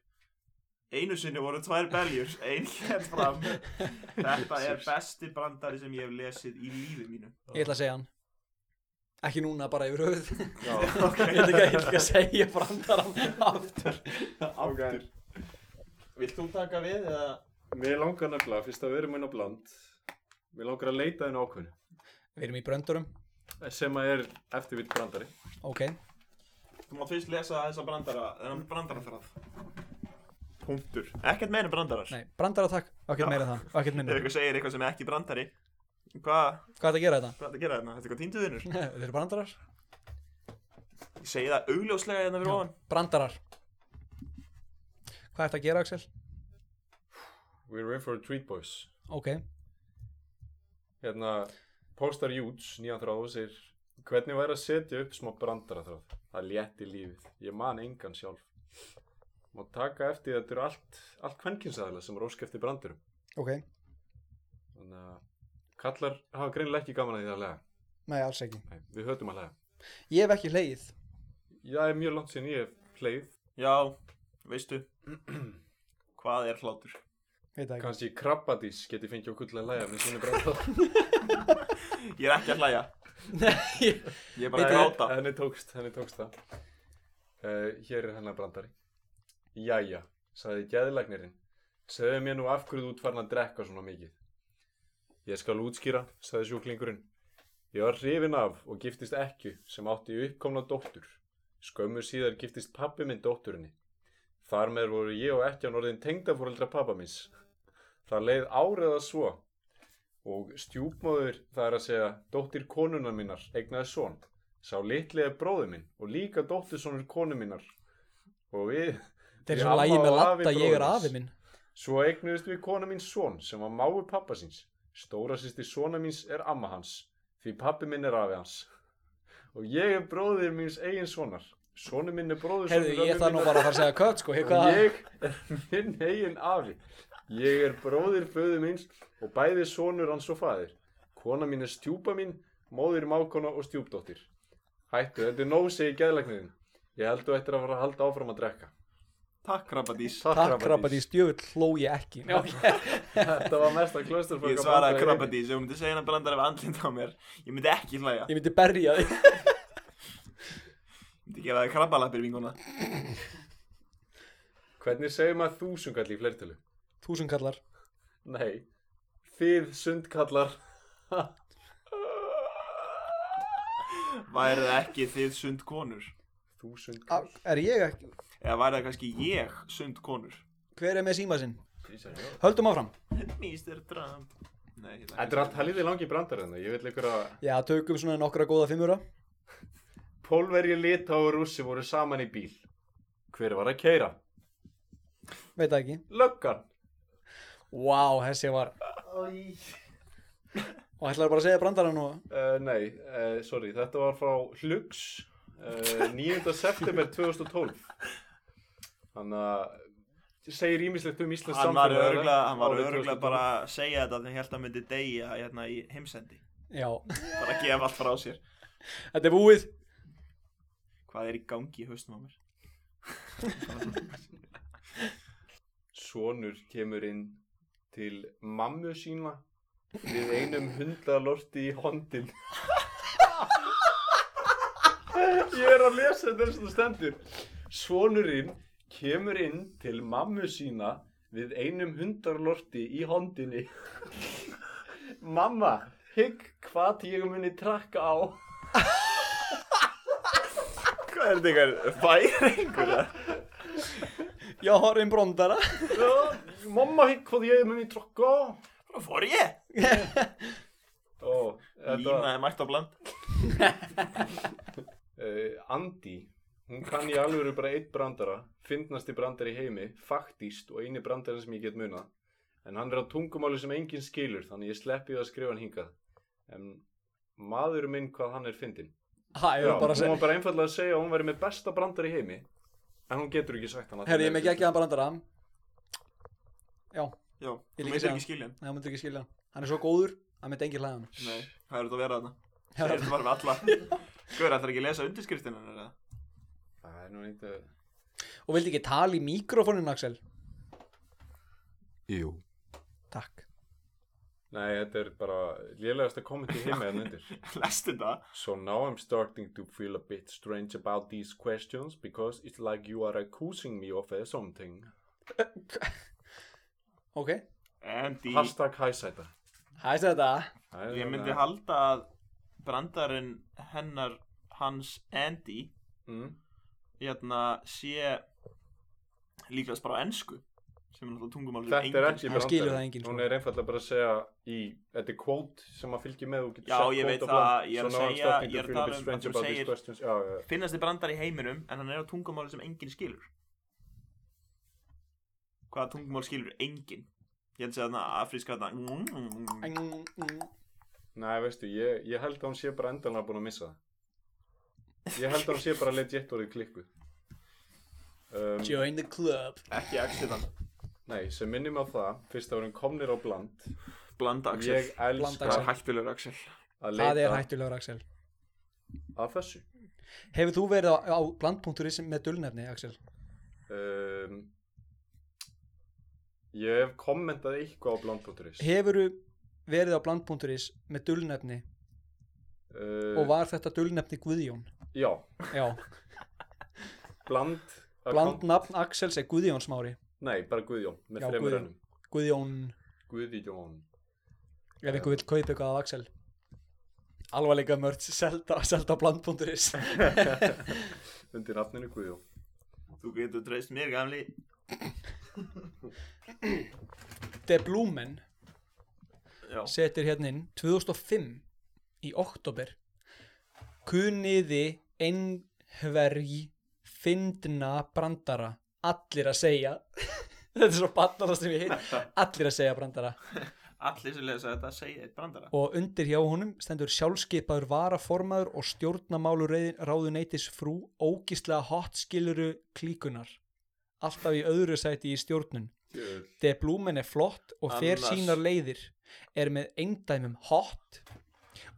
Einu sinni voru tvær beljur, ein hér fram. Þetta er besti brandari sem ég hef lesið í lífi mínu. Ég ætla að segja hann Ekki núna, bara yfir höfuð Já, Ok, Ég ætla ekki- ég ætla ekki að segja brandarann aftur aftur. Vilt þú taka við eða? mér langar nefnilega, fyrst að við erum inn á bland, mér langar að leita einu ákveðinu Við erum í bröndurum sem að er eftirvitt brandari. Ok, Þú mátt fyrst lesa þessa brandara, þennan brandarafræð. Punktur. Ekkert meina brandarar. nei, brandara takk Ekkert meira en það, og ekkert Ef minna ykkur segir eitthvað sem er ekki brandari, hvað, Hvað er það að gera þetta? hvað er þetta að gera þarna? Þetta er eitthvað týnduðinur. Nei, Þeir eru brandarar Ég segi það augljóslega hérna fyrir ofan. Brandarar Hvað er það að gera, Axel? We're in for a treat boys. Ok, Hérna, Polestar Júts, nýjan þráðu, segir Hvernig væri að setja upp smá brandara þráð? Það létti lífið. Ég man engan sjálf. Má taka eftir því að þetta eru allt, allt kvenkinsæðilega sem er ósk eftir brandurum. ok, Þannig að kallar hafa greinilega ekki gaman að því að lega. nei, alls ekki Nei, við höfum að lega. Ég hef ekki hleið Það er mjög langt síðan ég hef hleið. Já, veistu, hvað er hlátur? Veit það ekki Kanski krabbadís geti fengið okkur til að lega með sínu brandara. Ég er ekki að hlæja, Nei, ég er bara að Bíddu. gráta. henni tókst, henni tókst það. Uh, hér er hennar brandari. Jæja, sagði geðlagnirinn. Segðu mér nú af hverju þú ert farin að drekka svona mikið. Ég skal útskýra, sagði sjúklingurinn. Ég var hrifin af og giftist ekki sem átti uppkomna dóttur. Skömmu síðar giftist pappi minn dótturinni. Þar með voru ég og ekki á norðin tengdafóreldra pappa minns. Það leið áriða svo og stjúpmóður, það er að segja, dóttir konunar minnar eignaði son. Sá litlega bróður minn og líka dóttursonur konu minnar. Og við... Þeir við eru svo amma lægi með og afi latta, ég er bróður afi hans. minn Svo eignuðist við kona mín son sem var máu pappa síns. Stóra sýsti sona míns er amma hans, því pappi minn er afi hans. Og ég er bróðir míns eigin sonar. Sonu minn er bróður Herðu, ég þarf nú bara að fara að segja kött, sko ég- Og hvað- ég er minn eigin afi. Ég er bróðir föðu míns og bæði sonur hans og faðir. Kona mín er stjúpa mín, móðir mákona og stjúpdóttir. Hættu, þetta er nóg, segir geðlegniðin. Ég held þú ættir að fara að halda áfram að drekka. Takk, Krabbadís. Takk, krabbadís, djöfull hló ég ekki Nei, ok. Þetta var mesta klösturfaka. Ég svaraði Krabbadís, ef þú myndi segja hann að brandar af andlind á mér, ég myndi ekki hlæja. Ég myndi berja þig Ég myndi gefa það krabbalappir vinguna. Hvernig segir maður þúsungall í flertölu? Þúsundkallar Nei, þið sundkallar. Værið ekki þið sund konur? Þúsundkallar. A- Er ég ekki? Eða værið það kannski ég sund konur? Hver er með síma sinn? Þetta Höldum áfram Mr. Trump. Nei, ég ætla ekki er að allt helðið langi brandar hérna. Ég vil ykkur að Já, tökum svona nokkra góða fimmura pólverji lita og rússi voru saman í bíl. Hver var að keira? Veit það ekki Löggan. Vá, þessi var Og ætlaðu bara að segja brandarann og Uh, nei, uh, sorry, þetta var frá Hlugs uh, 9. september 2012. Þannig að segir ímislegt um Íslands Hann var samfélag, örgulega, hann var árið örgulega 2012. bara að segja þetta þegar held að myndi deyja hérna í heimsendi. Já, Bara að gefa allt frá sér. þetta er búið Hvað er í gangi í haustum á mér? sonur kemur inn til mammu sína við einum hundalorti í hondin ég er að lesa þetta eins og það stendur sonurinn kemur inn til mammu sína við einum hundarlorti í hondinni mamma hygg hvað ég muni trakka á Hvað er þetta ykkur? Væringur? Já, horfum brandara mamma hygg hvað ég muni trakka á Nú fór ég Ó, þetta, Línaði mætt á bland uh, Andi, hún kann í alvöru bara eitt brandara, fyndnasti brandari í heimi, faktíst og eini brandarinn sem ég get munað. En hann er á tungumáli sem enginn skilur, þannig ég sleppi það að skrifa hann hingað. En maður minn hvað hann er fyndin. Hæ, ég Já, var bara að hún segja var bara einfallega að segja að hún væri með besta brandar í heimi en hún getur ekki sagt hann að Herri, ég með ekki að brandara Já, Já, Ég þú líka myndir það. ekki skilja hann það myndir ekki skilja hann. Hann er svo góður, það myndi engin hlæða hann Nei, hvað er þetta að vera þarna? Já. Það er bara með alla Guður, ætlar ekki að lesa undirskriftina hennar eða? það er nú eh, eitthvað Og vildi ekki tala í mikrofónin, Axel Jú. Takk nei, þetta er bara lélegasta komment í heimi en undir Lestu þetta? so now I'm starting to feel a bit strange about these questions because it's like you are accusing me of eh, something Ok, Andy hashtag hæsæta hæst þetta Það Ég er svona- myndi halda að brandarinn hennar hans Andy mm, hérna sé líkast bara á ensku sem er náttúrulega tungumál sem þetta er enginn- ekki Hann skilur það brandarinn. enginn, sko. hún er einfallega bara að segja í þetta er quote sem að fylgja með þú Já, getur ég sett quote veit á það, blank. ég er að So now I'm segja- ég starting er to að feel a tala bit um strange það sem about these segir- questions. Já, já, já. finnast þið brandar í heiminum en hann er á tungumáli sem enginn skilur hvaða tungumál skilur enginn ég held að segja þarna afríska þarna Nei, veistu, ég, ég held að hún sé bara endanlega búin að missa það. Ég held að hún sé bara legit orðið klikku. Um, Join the club ekki axilan nei, sem minnum á það, fyrst að vorum komnir á bland. bland axel Ég elska Axel. hættulegur axel að Það er leita hættulegur, Axel að þessu. Hefur þú verið á, á bland.is með dulnefni, Axel? Um, ég hef kommentað eitthvað á bland.is. Hefur verið á bland.is með dulnefni og Uh, var þetta dulnefni Guðjón? já, Já, bland. bland nafn Axels er Guðjón smári Nei, bara Guðjón, með Já, þremur Guðjón. ennum. Guðjón, Guðjón. ef einhver vil kaupa eitthvað af Axel Alvarleika mörd, selda, selda bland.is Undir nafninu Guðjón. þú getur dreist mér gamli The Blumen já setir hérna inn 2005 í oktober kuniði einhverji fyndna brandara allir að segja þetta er svo bannara sem ég heit allir að segja brandara allir sem lesa þetta segja eitt brandara og undir hjá honum stendur sjálfskeipaður varaformaður og stjórnamálu ráðuneytis frú ógíslega hot skiluru klíkunar alltaf í öðru sæti í stjórnun Guðjón. De Blumen er flott og fer Annars. sínar leiðir er með eindæmum hot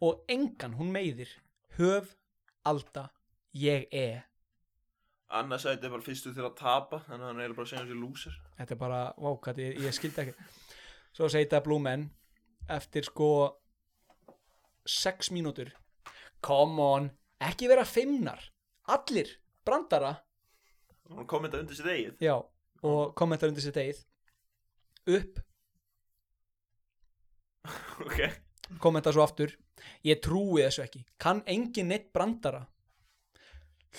og engan hún meiðir höf, alda, ég er annars að þetta er bara fyrstu til að tapa þannig að hann er eiginlega bara að segja þessi lúsir þetta er bara, vákat, ég, ég skildi ekki svo segir De Blumen eftir sko 6 mínútur come on, ekki vera fimmnar allir, brandara hann kommenta undir sér eigið já, og kommentar undir sitt eigið upp ok kommenta svo aftur ég trúi þessu ekki, kann engin neitt brandara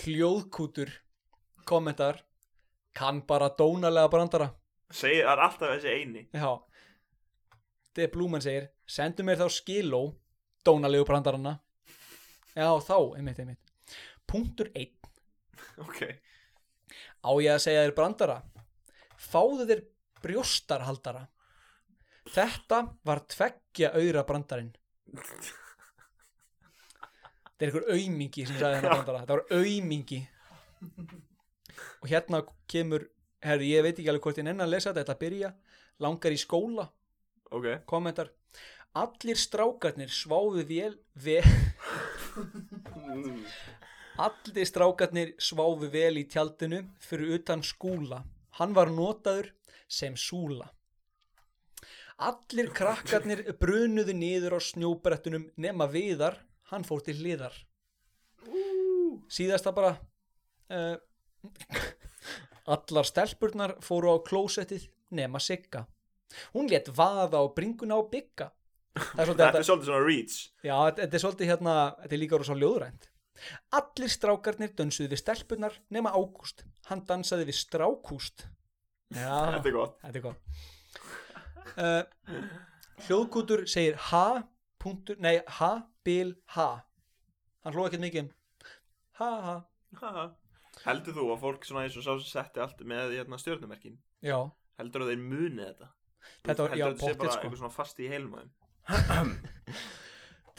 hljóðkútur kommentar kann bara dónalega brandara segir það er alltaf þessi eini já De Blumen segir, sendu mér þá skiló dónalegu brandarana já þá, einmitt, einmitt punktur 1, ok á ég að segja þér brandara fáðu þér brjóstarhaldara þetta var tveggja auðra brandarinn þetta er einhver aumingi sem sagði þennan brandara þetta var aumingi og hérna kemur herri ég veit ekki alveg hvort ég nenni að lesa þetta þetta byrja, langar í skóla ok kommentar, allir strákarnir sváðu vel, vel Allir strákarnir sváfu vel í tjaldinu fyrir utan skúla. Hann var notaður sem súla. Allir krakkarnir brunuðu niður á snjóbrettunum nema viðar, hann fór til hliðar. Síðasta bara, uh, allar stelpurnar fóru á klósettið nema sigga. Hún létt vaða á bringuna á bygga. Það er svolítið þetta er svolítið svona reach Já, þetta þetta er svolítið hérna, þetta er líka rosa ljóðrænt. Allir strákarnir dönsuðu við stelpunar nema Ágúst. Hann dansaði við strákúst. Já, þetta er gott þetta er gott. Uh, hljóðkútur segir ha punktur, nei ha, bil, ha hann hlóði ekkert mikið um ha, ha, Haha. Heldur þú að fólk svona eins og sá sem setti allt með hérna, stjörnumerkin já heldur að þeir muni þetta Þetta var- heldur já, að þetta sé pottþétt, bara sko. eitthvað svona fast í heilum á þeim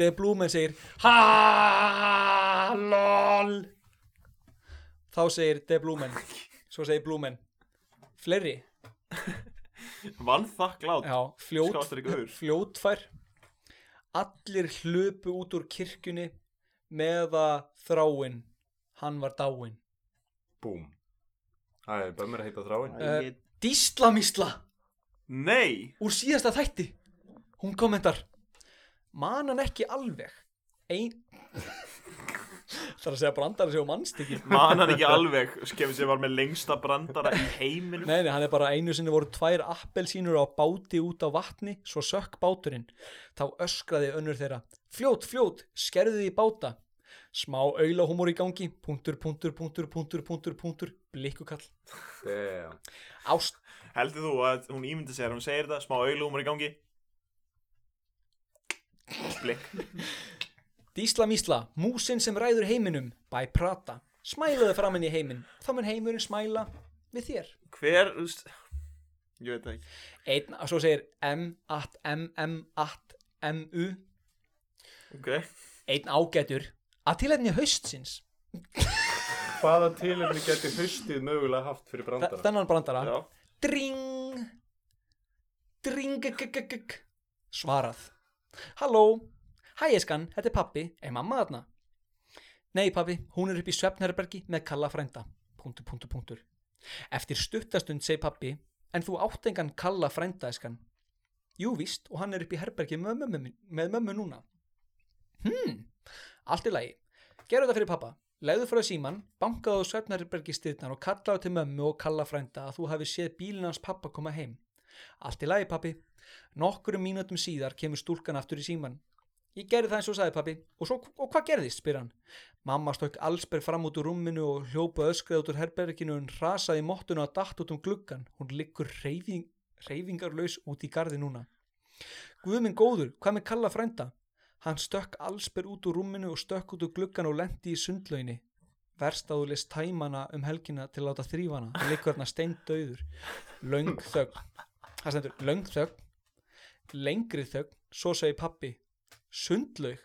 Dead Blumen segir ha, lol þá segir Dead Blumen svo segir Blumen fleiri, vann þakklátt já, fljót skáttur ykkur fljótfær allir hlupu út úr kirkjunni með að þráinn hann var dáinn Búm. Æ, bömmur heita þráin. Eh, Díslamísla nei úr síðasta þætti hún kommentar man hann ekki alveg ein þarf að segja brandara sig og mannst ekki man hann ekki alveg kemur sér var með lengsta brandara í heiminum Nei, nei, hann er bara einu sinni voru tvær appelsínur á báti út á vatni, svo sökk báturinn. Þá öskraði önnur þeirra, fljót, fljót, skerðu í báta. Smá aulahúmor í gangi, punktur, punktur, punktur, punktur, punktur, punktur, blikkukall. Damn. Ást, heldur þú að hún ímyndi sér hún segir þetta smá auglúmur í gangi blikk dísla mísla, músin sem ræður heiminum, bæ prata. Smælaðu framann í heiminn, þá mun heimurinn smæla við þér. hver þú veist, ég veit það ekki Einn, og svo segir M, at, M, M, at, M, U. ok Einn ágætur, að tilhætni haustsins. Hvaða tilefni geti haustið mögulega haft fyrir Þe- brandara? Þennan brandara. já Dring Dring g- g- g- g- Svarað Halló, hæ eskan, þetta er pappi Er mamma þarna? Nei pappi, hún er upp í svefnherbergi með kalla frænda Punktur, punktur, punktur Eftir stuttastund segir pappi En þú átt engan kalla frænda eskan Jú víst, og hann er upp í herbergi með mömmu, minn- með mömmu núna Hmm, allt í lagi Gerðu þetta fyrir pappa Legðu frá síman, bankaðu á svefnherbergi styrnar og kallaðu til mömmu og kalla frænda að þú hafi séð bílinn hans pappa koma heim. Allt í lagi pappi. Nokkurum mínútum síðar kemur stúlkan aftur í síman. Ég gerði það eins og sagði pappi. Og, svo, og hvað gerðist, spyr hann. Mamma stökk allsberg fram út úr rúminu og hljópa öskrað út úr herberginu en rasaði mottuna að datt út um gluggan. Hún liggur reyfing, reyfingarlaus út í gardi núna. Guð minn góður, hvað með kalla frænda? Hann stökk allsber út úr rúminu og stökk út úr gluggan og lendi í sundlauginni. Verst að þú list tæmana um helgina til að láta þrýfana. Hann liggur þarna steindauður. Löng þögn. Það stendur, löng þögn. Lengri þögn. Svo segi pappi, sundlaug.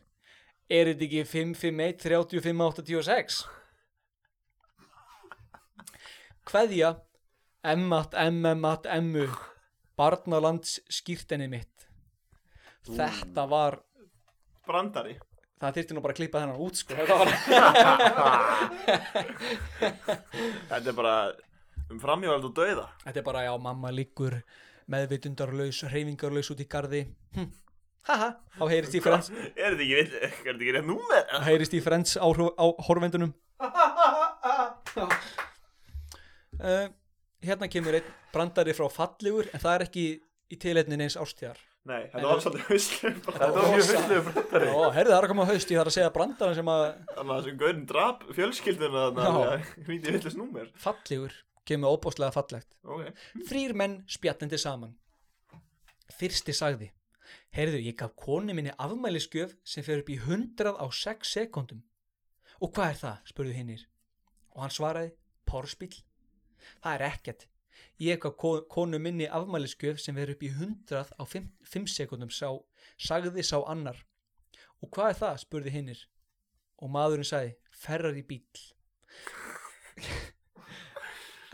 Er þetta ekki 551 35 86? Kveðja, emmat, emmat, emmu, barnalands skýrtenni mitt. Þetta var brandari það þyrfti nú bara að klippa þennan út sko þetta var þetta er bara um framhjóðald og dauða þetta er bara já mamma liggur meðvitundarlaus reyfingarlaus út í garði hm. haha þá heyrist í frens er þetta ekki vill er þetta ekki rétt númer þá heyrist í frens á, á horfendunum uh, hérna kemur einn brandari frá fallegur en það er ekki í tilhætnin eins ástíðar nei En- þetta var svolítið huslu þetta var var mjög rosa. huslu brandari Ó, herðu það er að koma haust, ég þarf að segja brandaran sem að þannig að þessum gaurin drap fjölskylduna þannig Já. að hrýndi villast númer fallegur kemur óbáslega fallegt ok Þrýr menn spjallandi saman. Fyrsti sagði, heyrðu, ég gaf konu minni afmælisgjöf sem fer upp í hundrað á sex sekundum. Og hvað er það? spurðu hinnir. Og hann svaraði, porspill. Það er ekkert. Ég gaf ko- konu minni afmælisgjöf sem fer upp í hundrað á fimm, fimm sekundum, sá, sagði sá annar. Og hvað er það? spurðu hinnir. Og maðurinn sagði, ferrar í bíl.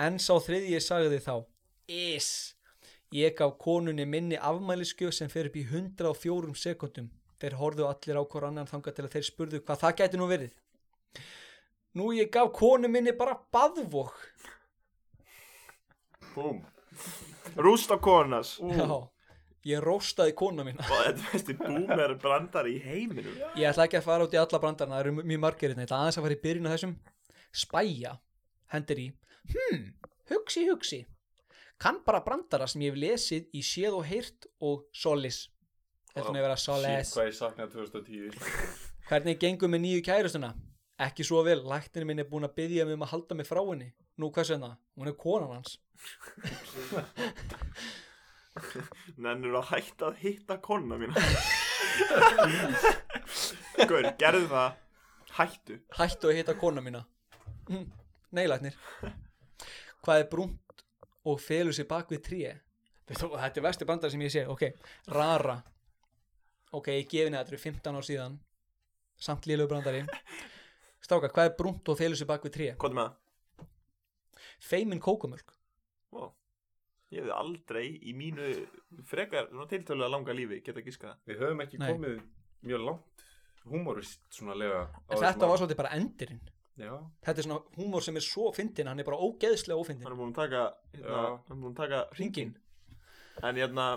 En sá þriðji sagði þá Is Ég gaf konunni minni afmælisgjöf sem fer upp í 104 sekundum Þeir horfðu allir á hver annan þangað til að þeir spurðu hvað það gæti nú verið Nú ég gaf konu minni bara baðvok Búm. rúst á konas Já Ég róstaði kona mína og þetta er besti boomer brandari í heiminum Ég ætla ekki að fara út í alla brandarna, það eru mjög margir hérna, ég ætla aðeins að fara í byrjun á þessum. Spæja, hendir í, hmm, hugsi, hugsi, kann bara brandara sem ég hef lesið í séð og heyrt og solis. Þetta er svona að vera solis. Shit, hvað ég saknaði 2010. Hvernig gengur með nýju kærustuna? Ekki svo vel, læknirinn minn er búin að byggja mig um að halda mig frá henni. Nú, hvers vegna? Hún er konan hans. Nennir að hætta að hitta konuna mína Gaur, gerðu það Hættu Hættu að hitta kona mína Mm, Nei, læknir Hvað er brúnt og felur sér bak við tré? Þetta þetta er vesti bandar sem ég sé Ok, rara Ok, ég gefi neða, þetta eru 15 ár síðan Samt lélögu brandari Stráka, hvað er brúnt og felur sér bak við tré? Hvað er með það? Feimin kókumölk Vá. Ég hefði aldrei í mínu frekar svona tiltölulega langa lífi geta gíska það Við höfum ekki Nei. komið mjög langt humorist svona lega á En þessum þetta var árum. svolítið bara endurinn Já, Þetta er svona húmór sem er svo fyndin Hann er bara ógeðslega Hann ófyndin er búin að taka, hérna, Já. hann er búin að taka Ringin En hérna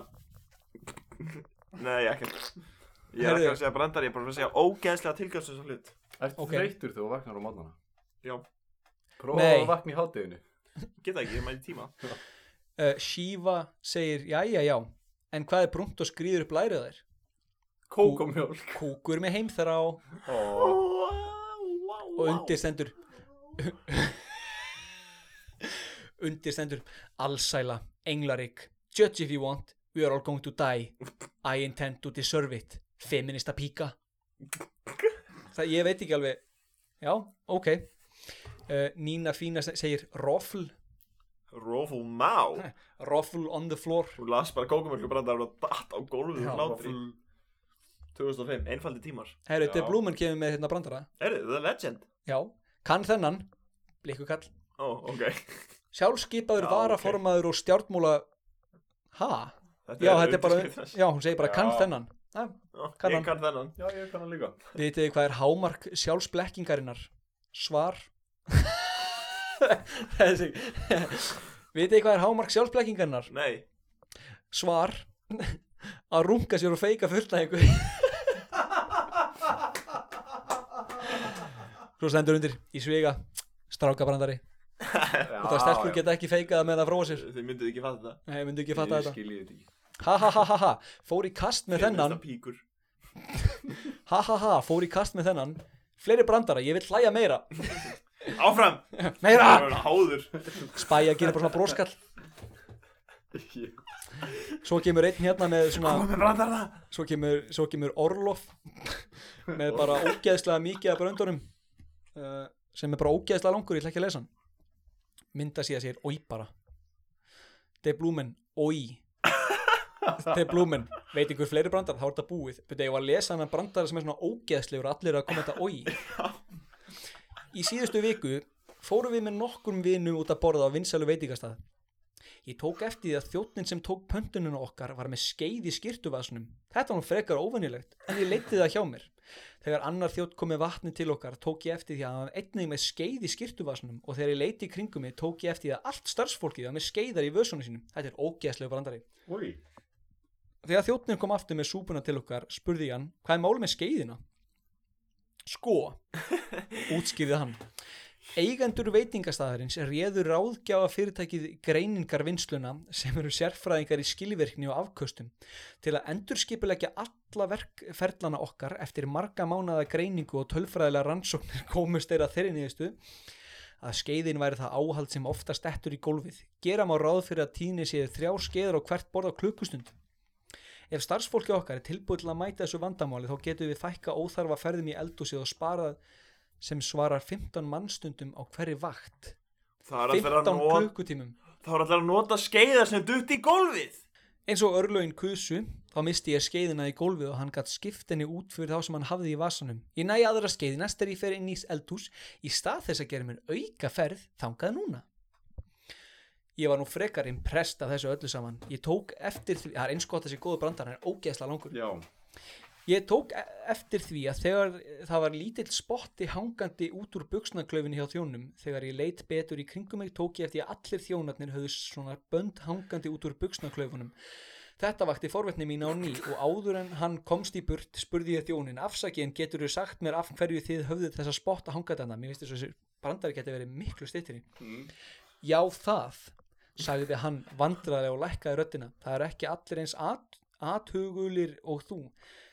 Nei, ekkert Ég er Heyrðu. ekki að segja brandar, ég er bara að segja ógeðslega tilgjörsum svo hlut ertu Ok. þreytur þegar þú vaknar á mátnana? Já, Prófa Nei. að vakna í hátteginu geta ekki, ég mæti tíma uh, Shiva segir Jæja, já En hvað er brúnt og skrýður upp lærið á þér? Kókomjólk Kúkur með heimþrá Og Ó, undir stendur Undir stendur Allsæla, englarik Judge if you want, we are all going to die I intend to deserve it Feminista píka Það ég veit ekki alveg Já, ok uh, Nína Fína se- segir Roffl Rófú má Roffl on the floor Þú las bara kókumölku brandar og datt á gólfið Já, úr hlátri 2005, einfaldi tímar Herru, Já. þetta er Blúmen kemur með hérna brandara Erðu, The Legend? Já, kann þennan Blikkukall Ó, ok Sjálfskipaður Já, varaformaður og stjárnmúla Ha? þetta Já, þetta er bara undirskrift þess. Já, hún segir bara Já. kann þennan ha? kann Já, hann. Ég kann þennan Já, ég kann hann líka Vitið þið hvað er hámark sjálfsblekkingarinnar? Svar Þessi Vitið þið hvað er hámark sjálfsblekkingarinnar? Nei, Svar Að runga sér og feika fullnæðingu Svo stendur undir í sviga Strákabrandari og það stelpur geta ekki feikað með það fróa sér þið mynduð ekki fatta þetta Nei, ég myndi ekki fatta Ég þetta skilji þetta ekki ha ha ha ha ha, fór í kast með þennan Feminista píkur ha ha ha, fór í kast með þennan fleiri brandara, ég vil hlæja meira Áfram! meira, Það er háður spæja gerir bara svona broskall svo kemur einn hérna með svona Komum brandar það svo kemur, svo kemur Orlof með bara ógeðslega mikið af bröndunum uh, sem er bara ógeðslega langur, ég ætla ekki að lesa hann mynda síðan sér, oi bara De Blumen, oi De Blumen veit einhver fleiri brandar, þá er þetta búið betur ég var að lesa hann brandar sem er svona ógeðslegur og allir eru að koma þetta oi í síðustu viku fórum við með nokkrum vinum út að borða á vinsælu veitingastað Ég tók eftir því að þjóttnin sem tók pöntununa okkar var með skeið í skirtuvasnum. Þetta var nú frekar óvenjulegt, en ég leiti það hjá mér. Þegar annar þjótt kom með vatni til okkar tók ég eftir því að hann var einnig með skeið í skirtuvasnum og þegar ég leiti í kringum mig tók ég eftir því að allt starfsfólkið var með skeiðar í vösunum sínum. Þetta er ógeðslega brandari. Úi, Þegar þjóttnin kom aftur með súpuna til okkar spurði ég hann, hvað er málið með skeiðina? Sko, útskýrði hann. Eigendur veitingastæðarins réður ráðgjáða fyrirtækið greiningarvinnsluna sem eru sérfræðingar í skilvirkni og afköstum til að endurskipulegja alla verkferlana okkar eftir marga mánada greiningu og tölfræðilega rannsóknir komust þeirra þeirri nýðistu að skeiðin væri það áhald sem oftast ettur í gólfið. Gera má ráð fyrir að tíðni séð þrjár skeiðar á hvert borð á klukkustund. Ef starfsfólki okkar er tilbúið til að mæta þessu vandamáli þá getum við fækka óþarfa ferðum í eldúsið og sparað sem svarar 15 mannstundum á hverri vakt. Það er 15 alltaf að nota klukkutímum. Það voru allir að nota skeiðar sem dutt í gólfið. Eins og örlögin kusu, þá misti ég skeiðina í gólfið og hann gatt skipt henni út fyrir þá sem hann hafði í vasanum. Ég næ aðra skeiðina þegar ég fer inn í eldhús í stað þess að gera mér auka ferð þangað núna. Ég var nú frekar impressed af þessu öllu saman. Ég tók eftir því, það er eins gott þessi góðu brandar, hann er ógeðsla langur. já Ég tók e- eftir því að þegar það var lítill spotti hangandi út úr buksnaklöfinu hjá þjónum, þegar ég leit betur í kringum mig tók ég eftir að allir þjónarnir höfðu svona bönd hangandi út úr buksnaklöfunum. Þetta vakti forvetni mín á ný og áður en hann komst í burt spurði ég þjónin afsakið en getur þú sagt mér af hverju þið höfðu þessa spotta hangandi hana? Mér finnst þess að þessi brandari geti verið miklu styttri. Já það, sagði hann vandræðilega og lækkaði röddina. Það eru ekki allir eins at, athugulir og þú.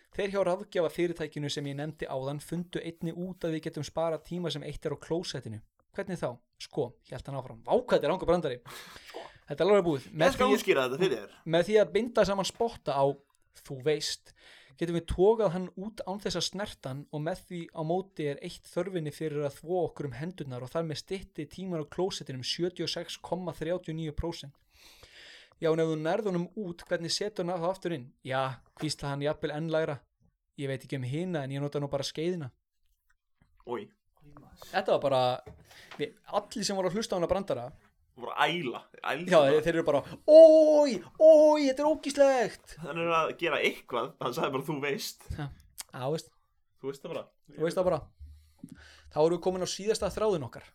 Þeir hjá ráðgjafa fyrirtækinu sem ég nefndi áðan fundu einni út að við getum spara tíma sem eitt er á klósettinu. hvernig þá? Sko, hélt hann áfram, vákvæði langur brandari Sko. Þetta er alveg búið Ég með skal því, útskýra þetta fyrir þér með því að binda saman spotta á þú veist getum við tókað hann út án þess að snertan og með því á móti er eitt þörfinni fyrir að þvó okkur um hendunar og þar með stytti tímar á um klósettinum 76,39% Já, en ef þú nærðunum út, hvernig setur hann það aftur inn? Já, hvísla hann jafnvel enn lægra. Ég veit ekki um hina, en ég nota nú bara skeiðina. Úi, Þetta var bara, við, allir sem voru að hlusta á hana brandara, þú voru að æla já, Ældu þeir eru bara, ói, ói, þetta er ógíslegt. Þannig er að gera eitthvað Hann sagði bara þú veist Já, veist, Þú veist það bara þú veist það bara. Þá erum við komin á síðasta þráðin okkar.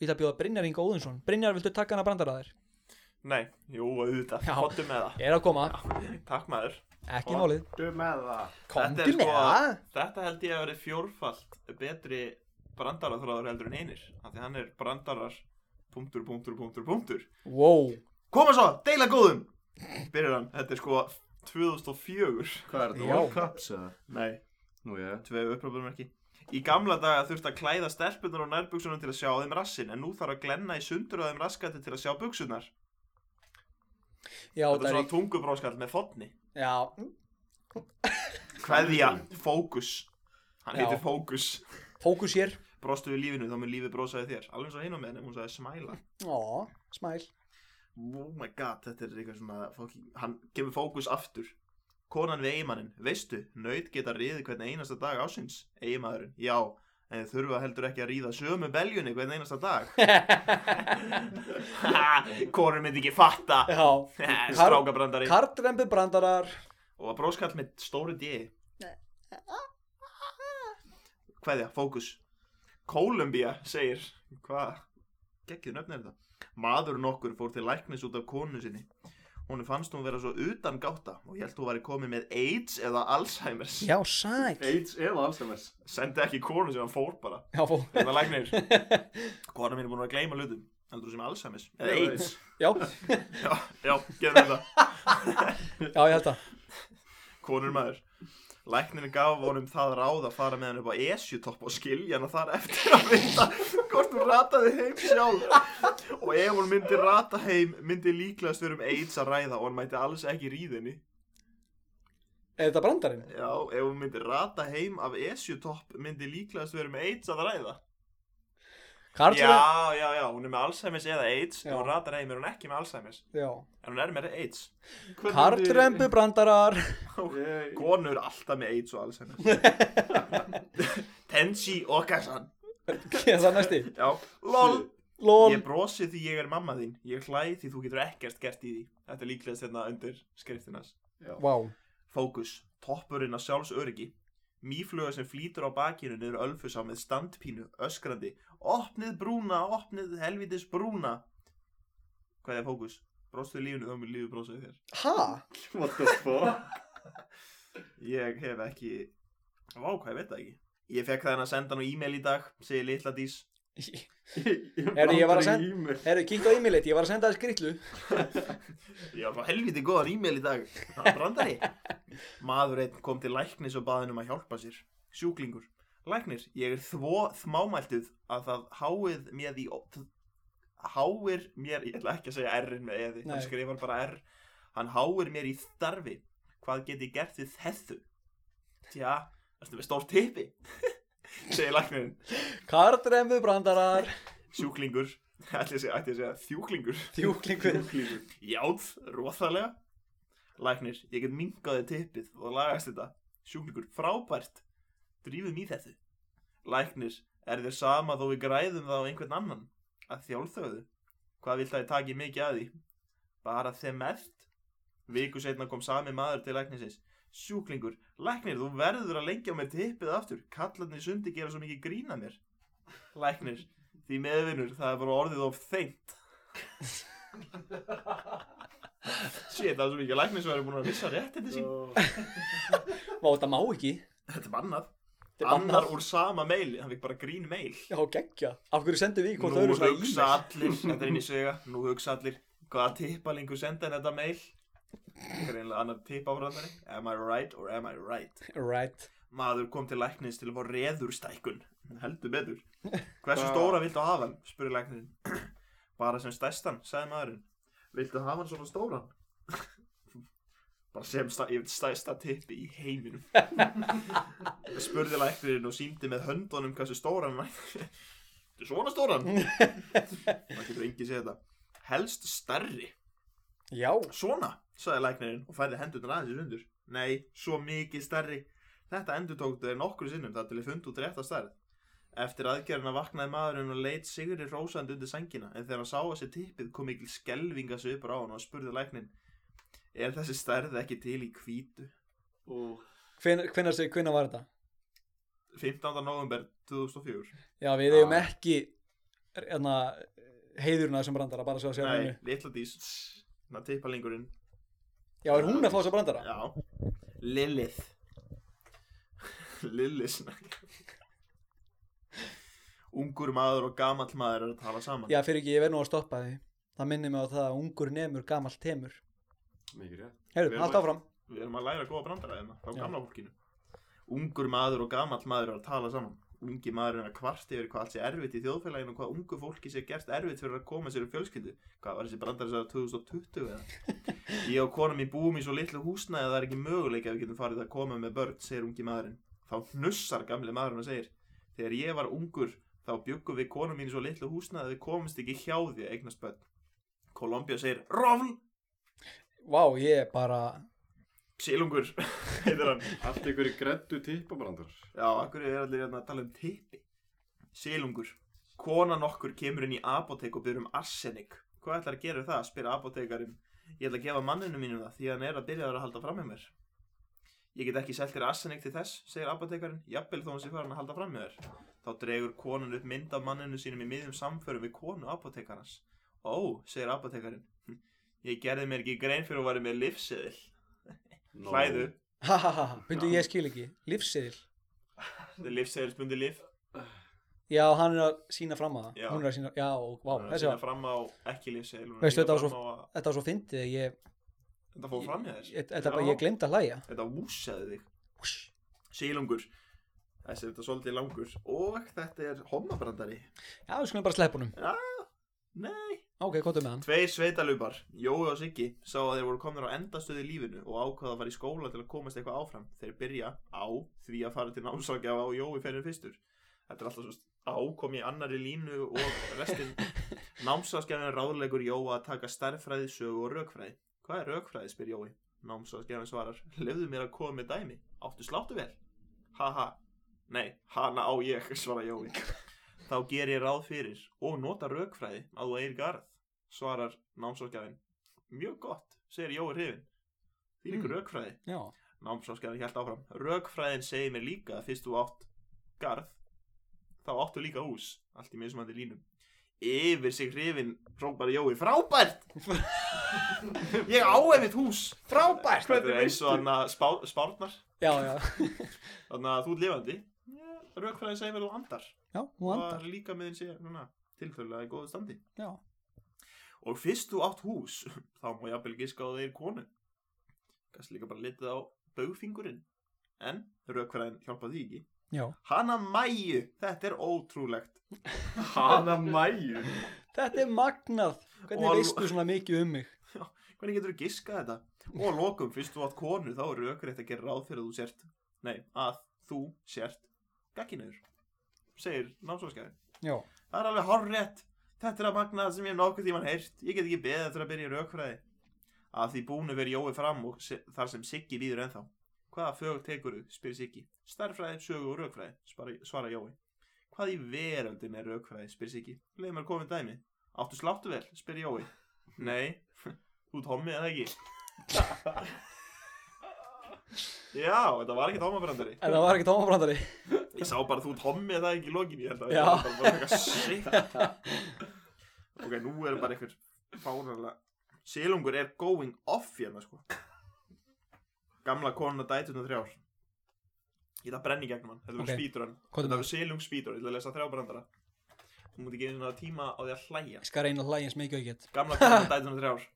Við ætla að bjóða Brynjar Inga Óðinsson. Brynjar, viltu taka hana brandara þér? Nei, jú, auðvitað, Já. komdu með það Er að koma, Takk maður ekki málið. Komdu með það. Þetta Komdu er með sko- það. Þetta held ég að verið fjórfalt betri brandaraþráður heldur en einir Þannig hann er brandarar punktur, punktur, punktur, punktur Wow. Koma svo, deila góðum Byrjar hann, þetta er sko 2004 Hvað er Já. þetta? All caps eða? Nei, Nú já, tvei uppröfum ekki Í gamla daga þurfti að klæða stelpunar og nærbuksunum til að sjá á þeim rassin En nú þarf að glenna í sundur á þeim raskati til að sjá buksunar Já, Þetta það er er svona tungubróskall með fotni Já, Kveðja, fókus Hann Já. heitir fókus fókus hér. Brostu við lífinu, þá mun lífið brosaði þér Alveg svo hinum með henni, hún sagði smæla Ó, smæl. Oh my god, þetta er eitthvað svona fucking- Hann kemur fókus aftur Konan við eigimannin, veistu, nöyt geta riðið hvern einasta dag ásins Eigimaðurinn, já, en þau þurfa heldur ekki að ríða sömu beljunni hvern einasta dag Konur myndi ekki fatta Já, Strákabrandari kartrembi brandarar. Og að bróskall með stóru D Hvaðja, fókus Kólumbía segir Hvað? Gekkið nöfn er þetta Maður nokkur fór til læknis út af konu sinni Hún fannst hún vera svo utan gáta og held hún væri komið með AIDS eða Alzheimer's Já, sæl. AIDS eða Alzheimer's. Sendi ekki konu sem hann fór bara Já, fó. Þetta læknir Kona mín er búin að gleyma hlutum Heldur þú sem Alzheimer's eða AIDS Já, Já, já, gerum þetta já, ég held að. konur maður Læknirinn gaf honum það ráð að fara með hann upp á Esjutopp og skilja hana þar eftir að vita hvort hún rataði heim sjálf og ef hún myndi rata heim myndi líklegast verið um AIDS að ræða og hann mætti alls ekki ríðinni Er þetta brandarinn? Já, ef hún myndi rata heim af Esjutopp myndi líklegast verið um AIDS að ræða Kartrembi. Já, já, já, hún er með Alzheimer's eða AIDS Já. ef hún ratar heim er hún ekki með Alzheimer's Já. já. en hún er með AIDS Hvernig- Kartrembi brandarar. Yay. Konur alltaf með AIDS og Alzheimer's Tenshi Okasan Ég er það næsti. Já, lol Lól. Ég brosi því ég er mamma þín Ég hlæði því þú getur ekkert gert í því Þetta er líklegast hérna undir skriftinas Vá. Fókus, toppurinn á sjálfsöryggi Mýfluga sem flýtur á bakinu niður ölfusá með standpínu, öskrandi Opnið brúna, opnið helvitis brúna Hvað er fókus? Brostuð lífinu þá mér lífið brosuð þér Ha? What the fuck? Ég hef ekki Vá, hvað ég veit það ekki Ég fekk það henn að senda hann á e-mail í dag Segir litla dís Heyrðu, ég var að senda- senda. Herru, kíktu á e-mailit, ég var að senda það skrittlu. Ég var bara helviti góðan e-mail í dag Það er brandari Maður einn kom til læknis og baðin um að hjálpa sér Sjúklingur Læknir, ég er þvó þmámæltuð að það háið mér í ó- þ- Háir mér, ég ætla ekki að segja R-in með eði Hann Nei. skrifar bara R Hann háir mér í starfi Hvað get ég gert við þessu? Tja, erstu með stór tippi Segir læknirinn Kartrembi brandarar. Sjúklingur Ætli að segja, ætli að segja þjúklingur Þjúklingur. Jáð, róþarlega Læknir, ég get mingaði tippið og lagast þetta Sjúklingur, frábært Drífum í þessu Læknir, er þér sama þó við græðum það á einhvern annan Að þjálfþöðu Hvað vilt að ég taki mikið að því? Bara þeim eft Viku setna kom sami maður til læknisins Sjúklingur, læknir, þú verður að lengja á mér tippið aftur Kallarnir í sundi gera svo mikið grína mér Læknir, því meðvinur, það er bara orðið of þeint Shit, það er svo mikið læknir sem eru búin að missa réttindi sín Vá, þetta má ekki. Þetta er bannað Þetta er Annar bannað. úr sama mail, hann fikk bara grín mail Já, geggja. Af hverju sendum við hvort Nú öðru svona hugsa e-mail? allir, þetta er inn í söga Nú hugsa allir, hvaða tippalingur senda henni þetta mail Það er einlega annar tippafræðari Am I right or am I right? Right. Maður kom til læknis til að fá reðurstækun heldur betur Hversu stóra viltu hafa hann? spurði læknirinn Bara sem stærstan, sagði maðurinn Viltu hafa hann svona stóran? Bara sem stæ, ég vil stæsta tippi í heiminum Spurði læknirinn og síndi með höndunum hversu stóran hann væri. Þetta er svona stóran Það getur engin séð þetta Helst stærri Já, Svona, sagði læknirinn og færði hendurnar aðeins í sundur. Nei, svo mikið stærri. Þetta endurtóktu þeir nokkru sinnum þar til þeir fundu út rétta stærð. Eftir aðgerðina vaknaði maðurinn og leit Sigurði rósandi undir sangina en þegar hann sá að sér tippið kom mikil skelvinga sig uppur á hann og spurði læknin Er þessi stærð ekki til í hvítu? Ú, hvenær hvenær var þetta? 15. november 2004 Já, við Ah. eigum ekki hérna, heiðurna þessum brandara bara svo að segja Nei, hennu. litla dís Þannig að tippalingurinn Já, er hún að fá þessa brandara? Já, Lilith Lilith snakk Ungur maður og gamall maður eru að tala saman Já, fyrir ekki, ég verð nú að stoppa því. Það minnir mig á það að ungur nemur gamalt temur. mikið rétt Herru, Vel allt mælt. áfram. Við erum að læra góða brandara hérna á Já. gamla fólkinu Ungur maður og gamall maður eru að tala saman Ungi maður er að kvart yfir hvað allt sé erfitt í þjóðfélaginu og hvað ungu fólki sé gerst erfitt fyrir að koma sér um fjölskyldu Hvað var þessi brandari sér 2020 eða? Ég og konum í búum í svo litlu húsnæði að það er ekki möguleik að við getum farið að koma með börn, segir ungi maðurinn Þá hnussar gamli maðurinn og segir Þegar ég var ungur þá bjuggum við konum mín í svo litlu húsnæði að við komumst ekki hjá því að eignast börn Kolumbia segir, rofl, Vá, ég er bara... silungur, heitir hann Allt ykkur í grættu tippabrandar Já, akkur er allir hérna að tala um tippi Silungur Konan okkur kemur inn í apotek og byrjum arsenik Hvað ætlar að gera við það? spyr apotekarinn Ég ætla að gefa manninu mínum það því að hann er að byrja að halda fram með mér Ég get ekki selt þér arsenik til þess, segir apotekarinn Jafnvel þó hann sé farin að halda fram með þér Þá dregur konan upp mynd af manninu sínum í miðjum samförum við konu apotekarans Ó, segir apotekarinn "Hm, Ég gerði mér ekki grein fyrir að vera með lifseðil Nó. Hlæðu, Ha ha ha, ha. Bundu, ég skil ekki. Lífseðil. þetta er lifseðilsbundi lif Já, hann er að sína fram að það. Já. Hún er að sína... Já, og vá, að þessi sína var... fram á ekki lifseðil hún er að Veistu, sýna þetta var fram á að- Þetta var svo fyndið að ég... þetta fór fram í þér ég- Þetta bara, ég glemd að hlæja. þetta vúsaði þig Húss. sílungur þessi er þetta svolítið langur og þetta er homabrandari Já, við skulum bara sleppa honum. nei Ok, komdu með hann. tvei sveitalubar Jói og Siggi sá að þeir voru komnir á endastöðu í lífinu og ákvaða að fara í skóla til að komast eitthvað áfram þeir byrja á því að fara til námsakja og Jói fyrir fyrstur þetta er alltaf svo ákom í annari línu og restin námsakjafin ráðlegur Jói að taka stærðfræði sögu og rökfræði hvað er rökfræði spyr Jói námsakjafin svarar lefðu mér að koma með dæmi áttu sláttu vel haha nei hana á ég svara Jói þá ger ég ráð fyrir og nota rökfræði að þú eigir garð svarar námsókjafinn mjög gott, segir Jói hrifin því líka Mm. rökfræði Já. námsókjafinn hjælt áfram rökfræðin segir mér líka að fyrst þú átt garð þá áttu líka hús allt í mismandi línum yfir sig hrifin hrópar Jói frábært ég á einmitt hús Frábært! þetta er eins og hann að spá, spárnar Já, já. þannig að þú ert lifandi rökfræðin segir mér að þú andar Já, hún andar. og líka með þessi núna tilfæðulega í góðu standi Já. Og fyrst þú átt hús, þá má jafnvel giska á þeir konu. Kanski líka bara litið á baugfingurinn. En rökfræðin hjálpa því ekki. Já. Hanna mæju, þetta er ótrúlegt. Hana mæju Þetta er magnað. Og Hvernig alv- veistu svona mikið um mig? Hvernig getur þú giskað þetta? Og að lokum, fyrst þú átt konu, þá er rökrætt að gera ráð fyrir að þú sért. Nei, að þú sért gagkinuður. Segir námsváskæðin. Já. Það er alveg horrett. Þetta er að magnaða sem ég hef nokkuð tíman heyrt. Ég get ekki beðið eftir að byrja í raukfræði. Af því búinu verið Jói fram og se- þar sem Siggi líður ennþá. Hvaða fög tekur þú, spyr Siggi. Starfræði, sögu og raukfræði, spara- svarar Jói. Hvað í veröldin er raukfræði, spyr Siggi. Leif mér komið dæmi. Áttu sláttu vel, spyr Jói. Nei, þú tómmið eða ekki. Já, þetta var ekki tómabrandari. En það var ekki tómabrandari. Ég sá bara þú Tommi það ekki í lokin Ég held að Já. það var bara eitthvað sitt Ok, nú er bara einhver fárlega Silungur er going off hérna sko Gamla konuna dætuna þrjár Ég ætla að brenna í gegnum hann Þetta verður Ok. okay. speedrun Komdu Þetta með. verður silung speedrun Ég ætla að lesa þrjá brandara Þú múti ekki einu sinni hafa tíma á því að hlæja Ég skal reyna að hlæja eins mikið og ég get. Gamla konan dætuna þrjár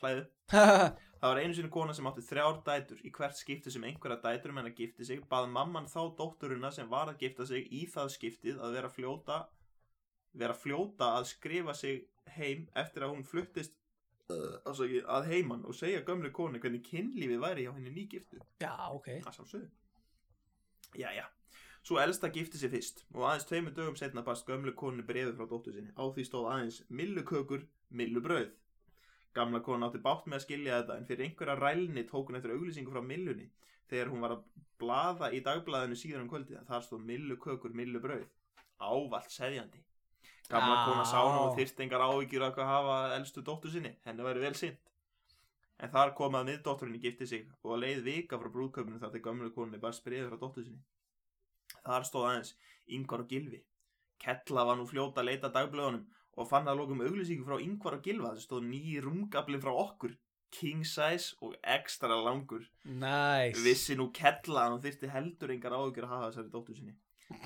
hlæðu Hahaha. Það var einu sinni kona sem átti þrjár dætur í hvert skipti sem einhverja dætur um hennar gifti sig bað mamman þá dótturuna sem var að gifta sig í það skiptið að vera fljóta vera fljóta að skrifa sig heim eftir að hún fluttist uh, ásaki, að heiman og segja gömlu konu hvernig kynlífið væri hjá henni nýgiftu Já, ok að sjálfsögðu. Jæja. Svo elsta gifti sig fyrst og aðeins tveimur dögum setna barst gömlu konu brefið frá dóttur sinni. Á því stóð aðeins millukökur, millubrauð. Gamla konu átti bátt með að skilja þetta en fyrir einhverja rælni tók hún eftir auglýsingu frá millunni þegar hún var að blaða í dagblaðinu síðan um kvöldið en þar stóð millukökur, millubrauð. Ávallt seðjandi. Gamla Já. kona sá hún og þyrst engar áhyggjur af hvað hafa elstu dóttur sinni. Henni væri vel sint. En þar kom að miðdótturinni gifti sig og leið vika frá brúðköpunum þar til gömlu konunni bara spriði frá dóttur sinni. Þar stóð aðeins Yngvar og Gilvi. Kella var nú fljóta að leita dagblöðunum og fann að lokum auglýsingu frá Yngvar og Gilva það stóð nýji rungabli frá okkur, king size og ekstra langur. Nice Vissi nú Kella að hún þyrfti heldur engar áhugjur að hafa þessari dóttur sinni.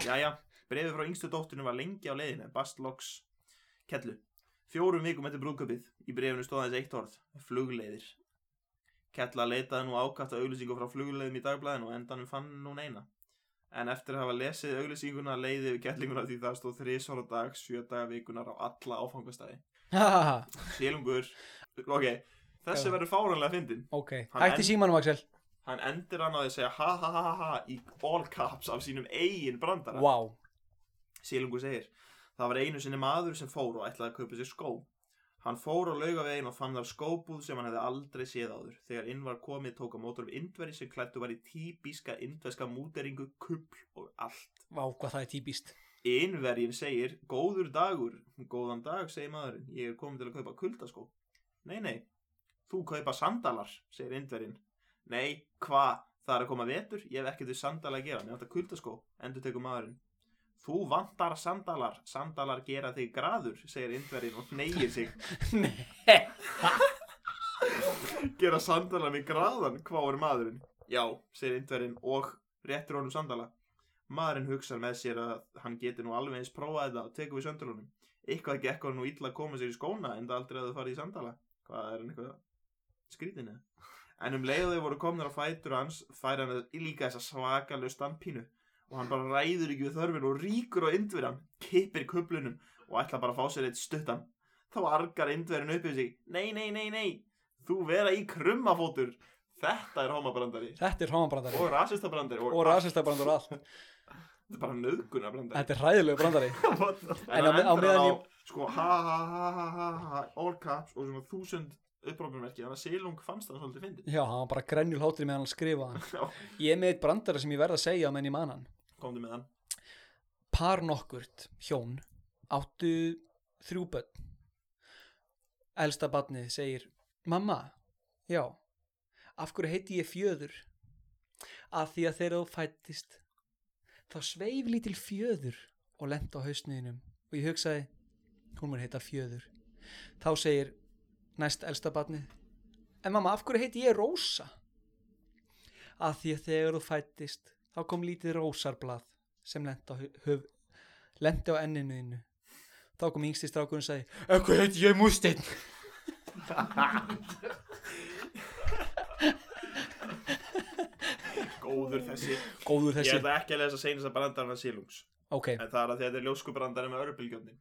Jæja, brefið frá yngstu dótturinu var lengi á leiðinu en bast loks Kellu. Fjórum vikum eftir brúðköpið. Í brefinu stóð aðeins eitt orð. Flugleiðir. Kella leitaði nú ákvæmt að auglýsingu frá flugleiðum í dagblæðinu og endanum fann hún eina. En eftir að hafa lesið auglýsinguna leiði við kellinguna því það stóð þrísvara dag, sjö daga vikunar á alla áfangastæði. Hahaha. Sílungur. Ok, þessi verður fáranlega fyndin. Ok, Hann hætti en- símanum Axel Hann endir hann á því að segja ha ha ha ha ha í all caps af sínum eigin brandara. Wow Sílungur segir, það var einu sinni maður sem fór og ætlaði að kaupa sér skó. Hann fór á laugavegin og fann þar skóbúð sem hann hefði aldrei séð áður. Þegar inn var komið tók á mótur um indveri sem klættu var í típiska indverska múteringu, kubl og allt. Vá, hvað það er típist Innverjin segir, góður dagur, góðan dag, segir maðurinn, ég er komið til að kaupa kuldaskó. Nei, nei, þú kaupa sandalar, segir indverjin. Nei, hva, það er að koma vetur, ég hef ekkert við sandala að gera, mér vantar kuldaskó, endur tekur maðurinn. Þú vantar sandalar, sandalar gera þig graður, segir indverjinn og neyir sig. gera sandalar mig graðan, hvað er maðurinn? Já, segir indverjinn og réttir honum sandala. Maðurinn hugsar með sér að hann geti nú alveg eins prófað þetta og tekur við söndalunum. Eitthvað gekk hann nú illa að koma sér í skóna en það aldrei að þau farið í sandala. Hvað er hann eitthvað? Skrítinu? En um leiðu þau voru komnir á fætur hans fær hann líka þessa svakalau standpínu og hann bara ræður ekki við þörfin og ríkur á indverjan, kippir köflunum og ætla bara að fá sér eitt stuttan. Þá argar indverjan upp yfir sig, nei, nei, nei, nei, þú vera í krummafótur. Þetta er homabrandari Þetta er hrómanbrandari og rasistabrandari og, Og rasistabrandur og allt Þetta er bara nöðgunabrandari. Þetta er hræðilegu brandari En En á hann me- á endur meðan hann á, ég- sko, ha ha ha ha ha ha, all caps og svona þúsund upprópunverki, þannig að Silung fannst það svolítið fyndið. Já, hann var bara grenjul hátri meðan hann skrifaði hann. Já, Ég er með eitt brandara sem ég verð að segja á menn í manan komdu með hann. Par nokkurt hjón áttu þrjú börn Elsta barnið segir Mamma, já Af hverju heiti ég fjöður? Af því að þegar þú fættist þá sveif lítil fjöður og lent á hausniðinum og ég hugsaði, hún mér heita fjöður þá segir næst elsta barnið en mamma, af hverju heiti ég Rósa? Af því að þegar þú fættist þá kom lítið rósarblað sem lent á, hu- höf, lenti á enninu þínu þá kom yngsti strákurinn og sagði en hvað heiti ég Músteinn? Góður þessi. Góður Ég þessi ætla ekki að lesa seinast að brandarana Silungs. Ok, En það er að því að þetta er ljóskubrandari með örbylgjöfnin.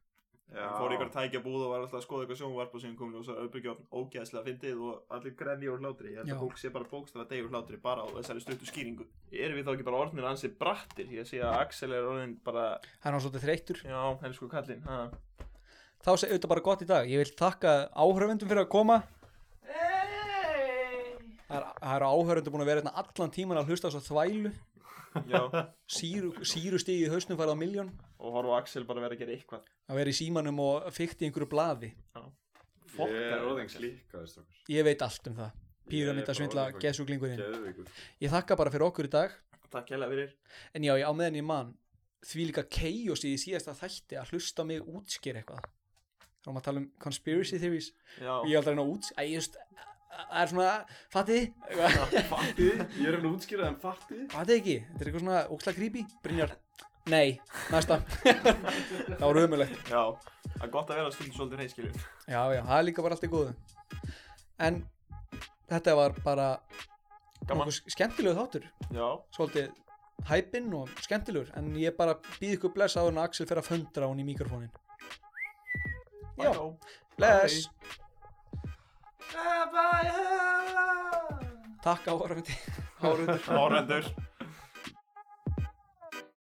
Hann fór í ykkur tækja búð og var alltaf að skoða ykkur sjónvarp og síðan kom ljósa örbylgjöfn ógeðslega fyndið og allir grenni úr hlátri. Ég held Já. að fólk sé bara bókstæða deg úr hlátri bara á þessari stuttu skýringu. Erum við þá ekki bara orðnir ansi brattir? Ég sé að Axel er orðin bara, hann var svolítið þreyttur já, helsku kallinn, ha? þá segir auðvitað bara gott í dag ég vil þakka áhörfundum fyrir að koma það er- það eru áhörfundum búin að vera hérna allan tíman að hlusta á þess að þvælu Já, síru, síru stigið í hausnum farið á miljón og horfa á Axel bara vera að gera eitthvað. að vera í símanum og fykti einhverju blaði Ég er Fokkar. orðin klíkaði strókar. ég veit allt um það Ég er bara píramindasvindla, orðinn gesuglingurinn Geðveikur. ég þakka bara fyrir okkur í dag Takk hella fyrir. en já, ég á meðan ég man því líka keios í því síðasta þætti að hlusta á mig útskýr eitthvað þá erum að tala um conspiracy theories Já, ég er aldrei að útskýr að ég just, það er svona, fattiði Eitthvað. Fattið, ég er hann útskýrað en fattið. Hvað er ekki? Þetta er eitthvað svona óksla creepy? Brynjar, nei, næsta Það var umulegt já. Það er gott að vera stundum svolítið hreinskiljum. Já, já, það er líka bara allt í góðu en þetta var bara Gaman. nokkuð skemmtilegu þáttur Já, svolítið hæpinn og skemmtilegur en ég bara býð ykkur bless á hann að Axel fer að föndra hún í mikrofónin Já, já. bless Takk áhörfundi Árendur